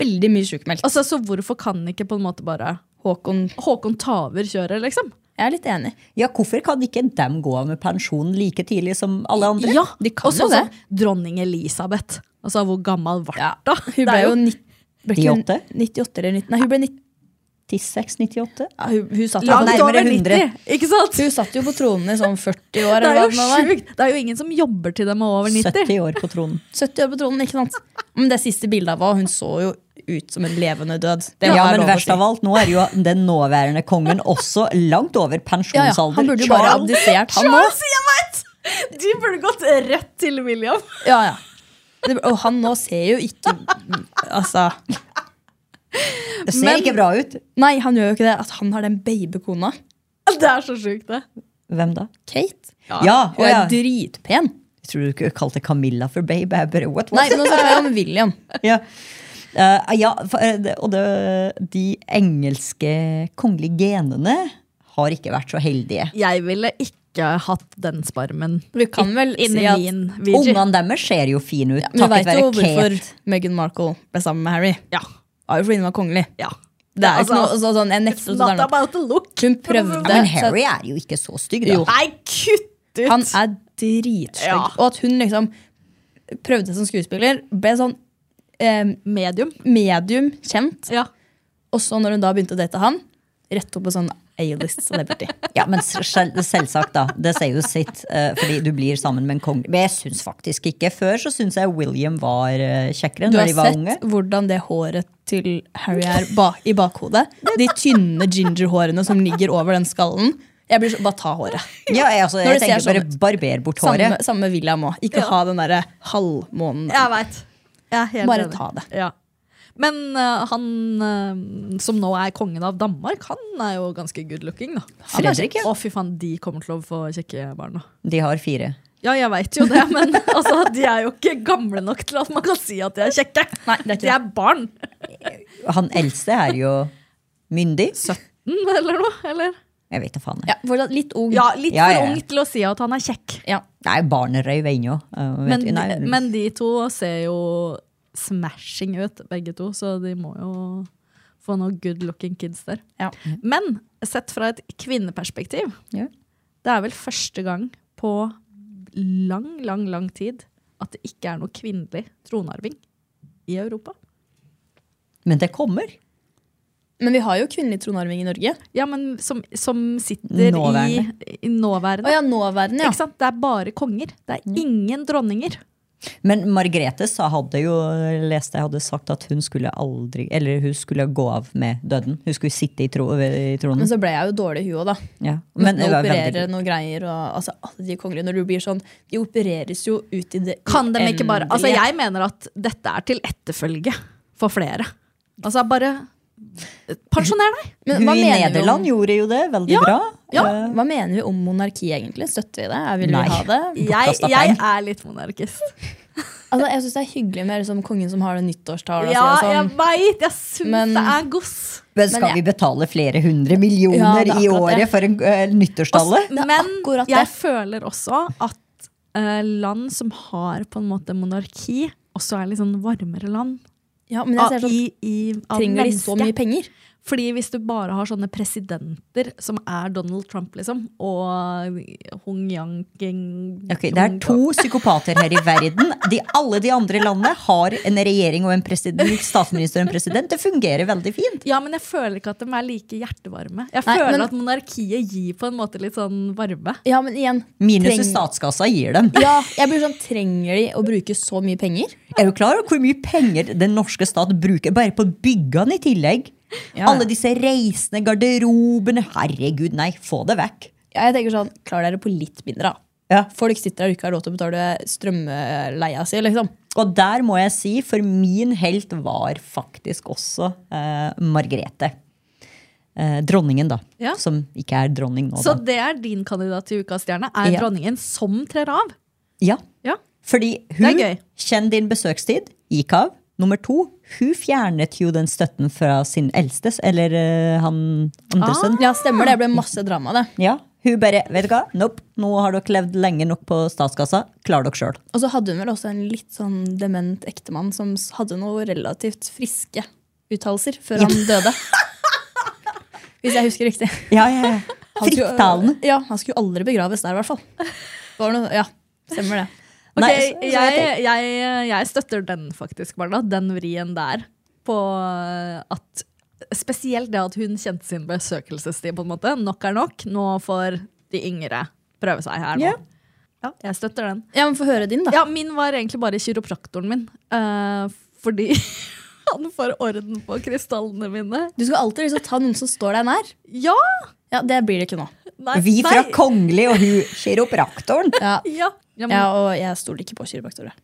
[SPEAKER 4] Veldig mye sjukmeldt.
[SPEAKER 2] Altså, så hvorfor kan ikke på en måte bare
[SPEAKER 4] Håkon,
[SPEAKER 2] Håkon ta over kjøret, liksom?
[SPEAKER 4] jeg er litt enig.
[SPEAKER 3] Ja, hvorfor kan ikke dem gå av med pensjon like tidlig som alle andre?
[SPEAKER 2] Ja,
[SPEAKER 4] de kan
[SPEAKER 2] også
[SPEAKER 4] jo det.
[SPEAKER 2] sånn Dronning Elisabeth. Altså, hvor gammel ble hun da?
[SPEAKER 4] Hun
[SPEAKER 2] Det er
[SPEAKER 4] ble jo nitt- ble ikke hun
[SPEAKER 3] 98?
[SPEAKER 4] 98 eller 90, nei, hun ble 90.
[SPEAKER 3] 96-98?
[SPEAKER 4] Ja, hun, hun satt
[SPEAKER 3] La-
[SPEAKER 4] jo
[SPEAKER 2] Langt
[SPEAKER 3] nærmere
[SPEAKER 2] over 90,
[SPEAKER 3] 100.
[SPEAKER 2] ikke sant?
[SPEAKER 4] Hun satt jo på tronen i sånn 40 år.
[SPEAKER 2] Det
[SPEAKER 4] Eller
[SPEAKER 2] er
[SPEAKER 4] hva
[SPEAKER 2] jo
[SPEAKER 4] det nå var.
[SPEAKER 2] sjukt! Det er jo ingen som jobber til dem er over 90.
[SPEAKER 3] 70 år på tronen.
[SPEAKER 4] 70 år på tronen, ikke sant? Men det siste bildet av henne, hun så jo ut som en levende død. Det
[SPEAKER 3] Ja,
[SPEAKER 4] må være
[SPEAKER 3] men
[SPEAKER 4] lov å
[SPEAKER 3] verst
[SPEAKER 4] si.
[SPEAKER 3] av alt, nå er jo den nåværende kongen også langt over
[SPEAKER 4] ja, ja,
[SPEAKER 3] pensjonsalder.
[SPEAKER 4] Han burde jo bare
[SPEAKER 3] Charles.
[SPEAKER 4] abdisert, han nå.
[SPEAKER 2] Charles, jeg vet! De burde gått rett til William.
[SPEAKER 4] Ja, ja. Det- Og han nå ser jo ikke Altså.
[SPEAKER 3] Det ser
[SPEAKER 4] Men-
[SPEAKER 3] ikke bra ut.
[SPEAKER 4] Nei, han gjør jo ikke det. At han har den babykona.
[SPEAKER 2] Det er så sjukt, det.
[SPEAKER 3] Hvem da?
[SPEAKER 4] Kate.
[SPEAKER 3] Ja,
[SPEAKER 4] Hun
[SPEAKER 3] å ja.
[SPEAKER 4] er dritpen.
[SPEAKER 3] Jeg tror du ikke kalte Camilla for babe. Jeg bare, what was
[SPEAKER 4] Nei, men nå snakker jeg om William.
[SPEAKER 3] ja. Eh, ja, for, eh, det- og det, de engelske kongelige genene har ikke vært så heldige.
[SPEAKER 2] Jeg ville ikke ikke hatt den sparmen
[SPEAKER 4] Vi kan vel
[SPEAKER 2] inni
[SPEAKER 4] si at
[SPEAKER 2] min VG.
[SPEAKER 3] Ungene deres ser jo fine ut,
[SPEAKER 4] ja, Vi
[SPEAKER 3] takket
[SPEAKER 4] veit jo
[SPEAKER 3] være
[SPEAKER 4] hvorfor
[SPEAKER 3] Kate.
[SPEAKER 4] Meghan Markle ble sammen med Harry.
[SPEAKER 2] Ja.
[SPEAKER 4] Det var jo fordi hun var kongelig.
[SPEAKER 2] ja.
[SPEAKER 4] Det er jo ikke
[SPEAKER 2] Altså,
[SPEAKER 4] noe, altså, sånn, jeg nekter å si det er noe.
[SPEAKER 2] about the look.
[SPEAKER 4] Hun prøvde.
[SPEAKER 3] Ja, men
[SPEAKER 4] så-
[SPEAKER 3] Harry er jo ikke så stygg, da.
[SPEAKER 2] Nei, kutt ut!
[SPEAKER 4] Han er dritstygg.
[SPEAKER 2] Ja.
[SPEAKER 4] Og at hun liksom prøvde som skuespiller, ble sånn eh,
[SPEAKER 2] medium.
[SPEAKER 4] medium kjent.
[SPEAKER 2] Ja.
[SPEAKER 4] Og så når hun da begynte å date han, rett opp på sånn A-list celebrity.
[SPEAKER 3] Ja, men sel selvsagt, da. Det sier jo sitt. eh, fordi du blir sammen med en konge. Men jeg syns faktisk ikke. Før så syns jeg William var eh, kjekkere
[SPEAKER 4] Du
[SPEAKER 3] når
[SPEAKER 4] har
[SPEAKER 3] de var
[SPEAKER 4] sett
[SPEAKER 3] unge.
[SPEAKER 4] hvordan det håret til Harry er ba i bakhodet. De tynne gingerhårene som ligger over den skallen. Jeg blir så, Bare ta håret.
[SPEAKER 3] Ja, jeg, altså, jeg
[SPEAKER 4] Når det
[SPEAKER 3] tenker
[SPEAKER 4] ser
[SPEAKER 3] bare
[SPEAKER 4] sånn
[SPEAKER 3] barber bort
[SPEAKER 4] Samme,
[SPEAKER 3] håret.
[SPEAKER 4] samme med William òg. Ikke
[SPEAKER 2] Ja.
[SPEAKER 4] ha den derre halvmånen.
[SPEAKER 2] Jeg veit.
[SPEAKER 4] Bare ta det.
[SPEAKER 2] Ja. Men eh, han eh, som nå er kongen av Danmark, han er jo ganske good looking, da. Han er
[SPEAKER 3] Fredrik,
[SPEAKER 2] kjekk. Å, fy faen, de kommer til å få kjekke barn, da.
[SPEAKER 3] De har fire.
[SPEAKER 2] Ja, jeg veit jo det, men altså, de er jo ikke gamle nok til at man kan si at de er kjekke.
[SPEAKER 4] Nei, det er
[SPEAKER 2] De
[SPEAKER 4] ikke det.
[SPEAKER 2] er barn.
[SPEAKER 3] Han eldste er jo myndig.
[SPEAKER 2] Mm, Eller noe? Eller?
[SPEAKER 3] Jeg vet da faen. jeg.
[SPEAKER 4] Ja, fortsatt litt ung.
[SPEAKER 2] Ja, litt
[SPEAKER 3] Ja,
[SPEAKER 2] for
[SPEAKER 3] ja, ja.
[SPEAKER 2] ung til å si at han er kjekk.
[SPEAKER 4] Ja.
[SPEAKER 3] Nei, barnerøyv ennå. eh, vet
[SPEAKER 2] Men,
[SPEAKER 3] vi. Nei,
[SPEAKER 2] men de to ser jo smashing ut, begge to, så de må jo få noen good looking kids der.
[SPEAKER 4] Ja.
[SPEAKER 2] Men sett fra et kvinneperspektiv,
[SPEAKER 3] Ja.
[SPEAKER 2] det er vel første gang på lang, lang, lang tid at det ikke er noe kvinnelig tronarving i Europa.
[SPEAKER 3] men det kommer.
[SPEAKER 4] Men vi har jo kvinnelig tronarving i Norge.
[SPEAKER 2] Ja, men som, som sitter i,
[SPEAKER 3] Nåværende.
[SPEAKER 2] i nåværende.
[SPEAKER 4] Å ja, nåværende,
[SPEAKER 2] Ikke
[SPEAKER 4] ja.
[SPEAKER 2] sant? Det er bare konger. Det er ingen dronninger.
[SPEAKER 3] Men Margrethe sa, hadde jo leste jeg hadde sagt at hun skulle aldri Eller hun skulle gå av med døden. Hun skulle sitte i, tro, i
[SPEAKER 2] Mm.
[SPEAKER 3] tronen.
[SPEAKER 4] Men så ble jeg jo dårlig i huet, da.
[SPEAKER 3] Ja.
[SPEAKER 4] Men
[SPEAKER 3] det
[SPEAKER 4] å
[SPEAKER 3] var
[SPEAKER 4] operere
[SPEAKER 3] veldig-
[SPEAKER 4] noen greier og altså, alle de kongelige Når du blir sånn De opereres jo ut i det
[SPEAKER 2] Kan de ikke bare Altså,
[SPEAKER 4] uendelige.
[SPEAKER 2] jeg mener at dette er til etterfølge for flere. Altså, bare eh, pensjoner deg!
[SPEAKER 4] Men
[SPEAKER 3] Hun
[SPEAKER 4] hva
[SPEAKER 3] i
[SPEAKER 4] mener vi om-
[SPEAKER 3] Nederland gjorde jo det veldig
[SPEAKER 2] Ja,
[SPEAKER 3] bra.
[SPEAKER 4] ja,
[SPEAKER 3] Eh,
[SPEAKER 4] Hva mener vi om monarki, egentlig? Støtter vi det? Er- Vil
[SPEAKER 3] Nei.
[SPEAKER 4] vi ha det?
[SPEAKER 2] Jeg,
[SPEAKER 3] Bortkastet
[SPEAKER 2] jeg
[SPEAKER 3] penger.
[SPEAKER 2] er litt monarkist.
[SPEAKER 4] Altså, jeg syns det er hyggelig med liksom, kongen som har det nyttårstall. og
[SPEAKER 2] Ja,
[SPEAKER 4] sier
[SPEAKER 2] jeg
[SPEAKER 4] sånn,
[SPEAKER 2] veit! Jeg syns
[SPEAKER 4] Men-
[SPEAKER 2] det er goss.
[SPEAKER 3] Men skal
[SPEAKER 4] jeg-
[SPEAKER 3] vi betale flere hundre
[SPEAKER 4] Ja,
[SPEAKER 3] millioner
[SPEAKER 4] det er
[SPEAKER 3] i
[SPEAKER 4] akkurat
[SPEAKER 3] året
[SPEAKER 4] det. Altså,
[SPEAKER 3] for en eh, nyttårstale?
[SPEAKER 4] Det er
[SPEAKER 2] Men
[SPEAKER 4] akkurat det.
[SPEAKER 2] jeg føler også at eh, land som har på en måte monarki, også er litt sånn varmere land.
[SPEAKER 4] ja, men jeg ser
[SPEAKER 2] av-
[SPEAKER 4] sånn
[SPEAKER 2] i, i, av
[SPEAKER 4] Trenger de så
[SPEAKER 2] mennesket.
[SPEAKER 4] mye penger?
[SPEAKER 2] Fordi hvis du bare har sånne presidenter som er Donald Trump, liksom, og Hong Yang Ging
[SPEAKER 3] Ok, Det er to psykopater her i verden. De, alle de andre landene har en regjering og en president, statsminister og en president. Det fungerer veldig fint.
[SPEAKER 2] Ja, men jeg føler ikke at de er like hjertevarme. Jeg
[SPEAKER 4] Nei,
[SPEAKER 2] føler
[SPEAKER 4] men-
[SPEAKER 2] at monarkiet gir på en måte litt sånn varme.
[SPEAKER 4] Ja, men igjen
[SPEAKER 3] Minus i
[SPEAKER 4] trenger-
[SPEAKER 3] statskassa gir dem.
[SPEAKER 4] Ja, jeg blir sånn, Trenger de å bruke så mye penger?
[SPEAKER 3] Er du klar over hvor mye penger den norske stat bruker bare på byggene i tillegg?
[SPEAKER 4] Ja.
[SPEAKER 3] Alle disse reisende garderobene. Herregud, nei, få det vekk.
[SPEAKER 4] Ja, jeg tenker sånn, Klar dere på litt mindre, da.
[SPEAKER 3] Ja.
[SPEAKER 4] Folk sitter der og ikke har råd til å betale strømleia si. liksom.
[SPEAKER 3] Og der må jeg si, for min helt var faktisk også eh, Margrethe. Eh, dronningen, da.
[SPEAKER 2] Ja.
[SPEAKER 3] Som ikke er dronning nå,
[SPEAKER 2] Så
[SPEAKER 3] da.
[SPEAKER 2] det er din kandidat til Ukas stjerne. Er
[SPEAKER 3] Ja.
[SPEAKER 2] dronningen som trer av?
[SPEAKER 3] Ja.
[SPEAKER 2] Ja.
[SPEAKER 3] Fordi
[SPEAKER 2] Det
[SPEAKER 3] hun,
[SPEAKER 2] er gøy.
[SPEAKER 3] kjenn din besøkstid, gikk av. Nummer to, hun fjernet jo den støtten fra sin eldste, eller eh, han
[SPEAKER 2] Ah,
[SPEAKER 3] andre
[SPEAKER 2] Sånn.
[SPEAKER 3] sønn.
[SPEAKER 4] Ja, stemmer det. Det ble masse drama, det.
[SPEAKER 3] Ja, hun bare, vet du hva? Nope, nå har dere levd lenge nok på statskassa. Klar dere sjøl.
[SPEAKER 4] Og så hadde hun vel også en litt sånn dement ektemann som s- hadde noe relativt friske uttalelser før han døde. Hvis jeg husker riktig.
[SPEAKER 3] Ja, ja, ja.
[SPEAKER 4] Han skulle-
[SPEAKER 3] Frittalende.
[SPEAKER 4] Ja, han skulle aldri begraves der, i hvert fall. Det Var noe, ja, stemmer det.
[SPEAKER 2] Ok,
[SPEAKER 3] Nei, så- så
[SPEAKER 2] jeg, jeg, jeg støtter den faktisk, Barna. Den vrien der. På at Spesielt det at hun kjente sin besøkelsestid, på en måte. Nok er nok. Nå får de yngre prøve seg her nå.
[SPEAKER 3] Ja.
[SPEAKER 2] Ja, jeg støtter den.
[SPEAKER 4] Ja, men Få høre din, da.
[SPEAKER 2] Ja, min var egentlig bare kiropraktoren min. eh, fordi han får orden på krystallene mine.
[SPEAKER 4] Du skal alltid liksom ta noen som står deg nær.
[SPEAKER 2] Ja!
[SPEAKER 4] Ja, Det blir det ikke nå.
[SPEAKER 2] Nei,
[SPEAKER 3] Vi fra
[SPEAKER 2] nei,
[SPEAKER 3] Kongelig og hun kiropraktoren.
[SPEAKER 4] Ja,
[SPEAKER 2] ja. Ja, men,
[SPEAKER 4] ja Og jeg stoler ikke på kiropraktorer.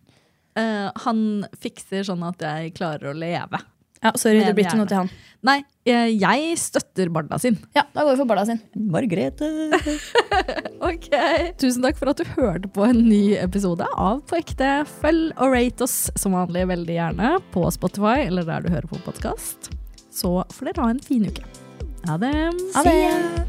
[SPEAKER 2] eh, han fikser sånn at jeg klarer å leve.
[SPEAKER 4] Ja, sorry, det
[SPEAKER 2] Men
[SPEAKER 4] blir ikke
[SPEAKER 2] gjerne.
[SPEAKER 4] noe til han.
[SPEAKER 2] Nei, eh, jeg støtter barna sin.
[SPEAKER 4] Ja, Da går vi for Barda sin.
[SPEAKER 3] Margrethe.
[SPEAKER 2] Ok. Tusen takk for at du hørte på en ny episode av På ekte. Følg og rate oss som vanlig veldig gjerne på Spotify eller der du hører på podkast. Så får dere ha en fin uke. Ha det.
[SPEAKER 4] Ha det.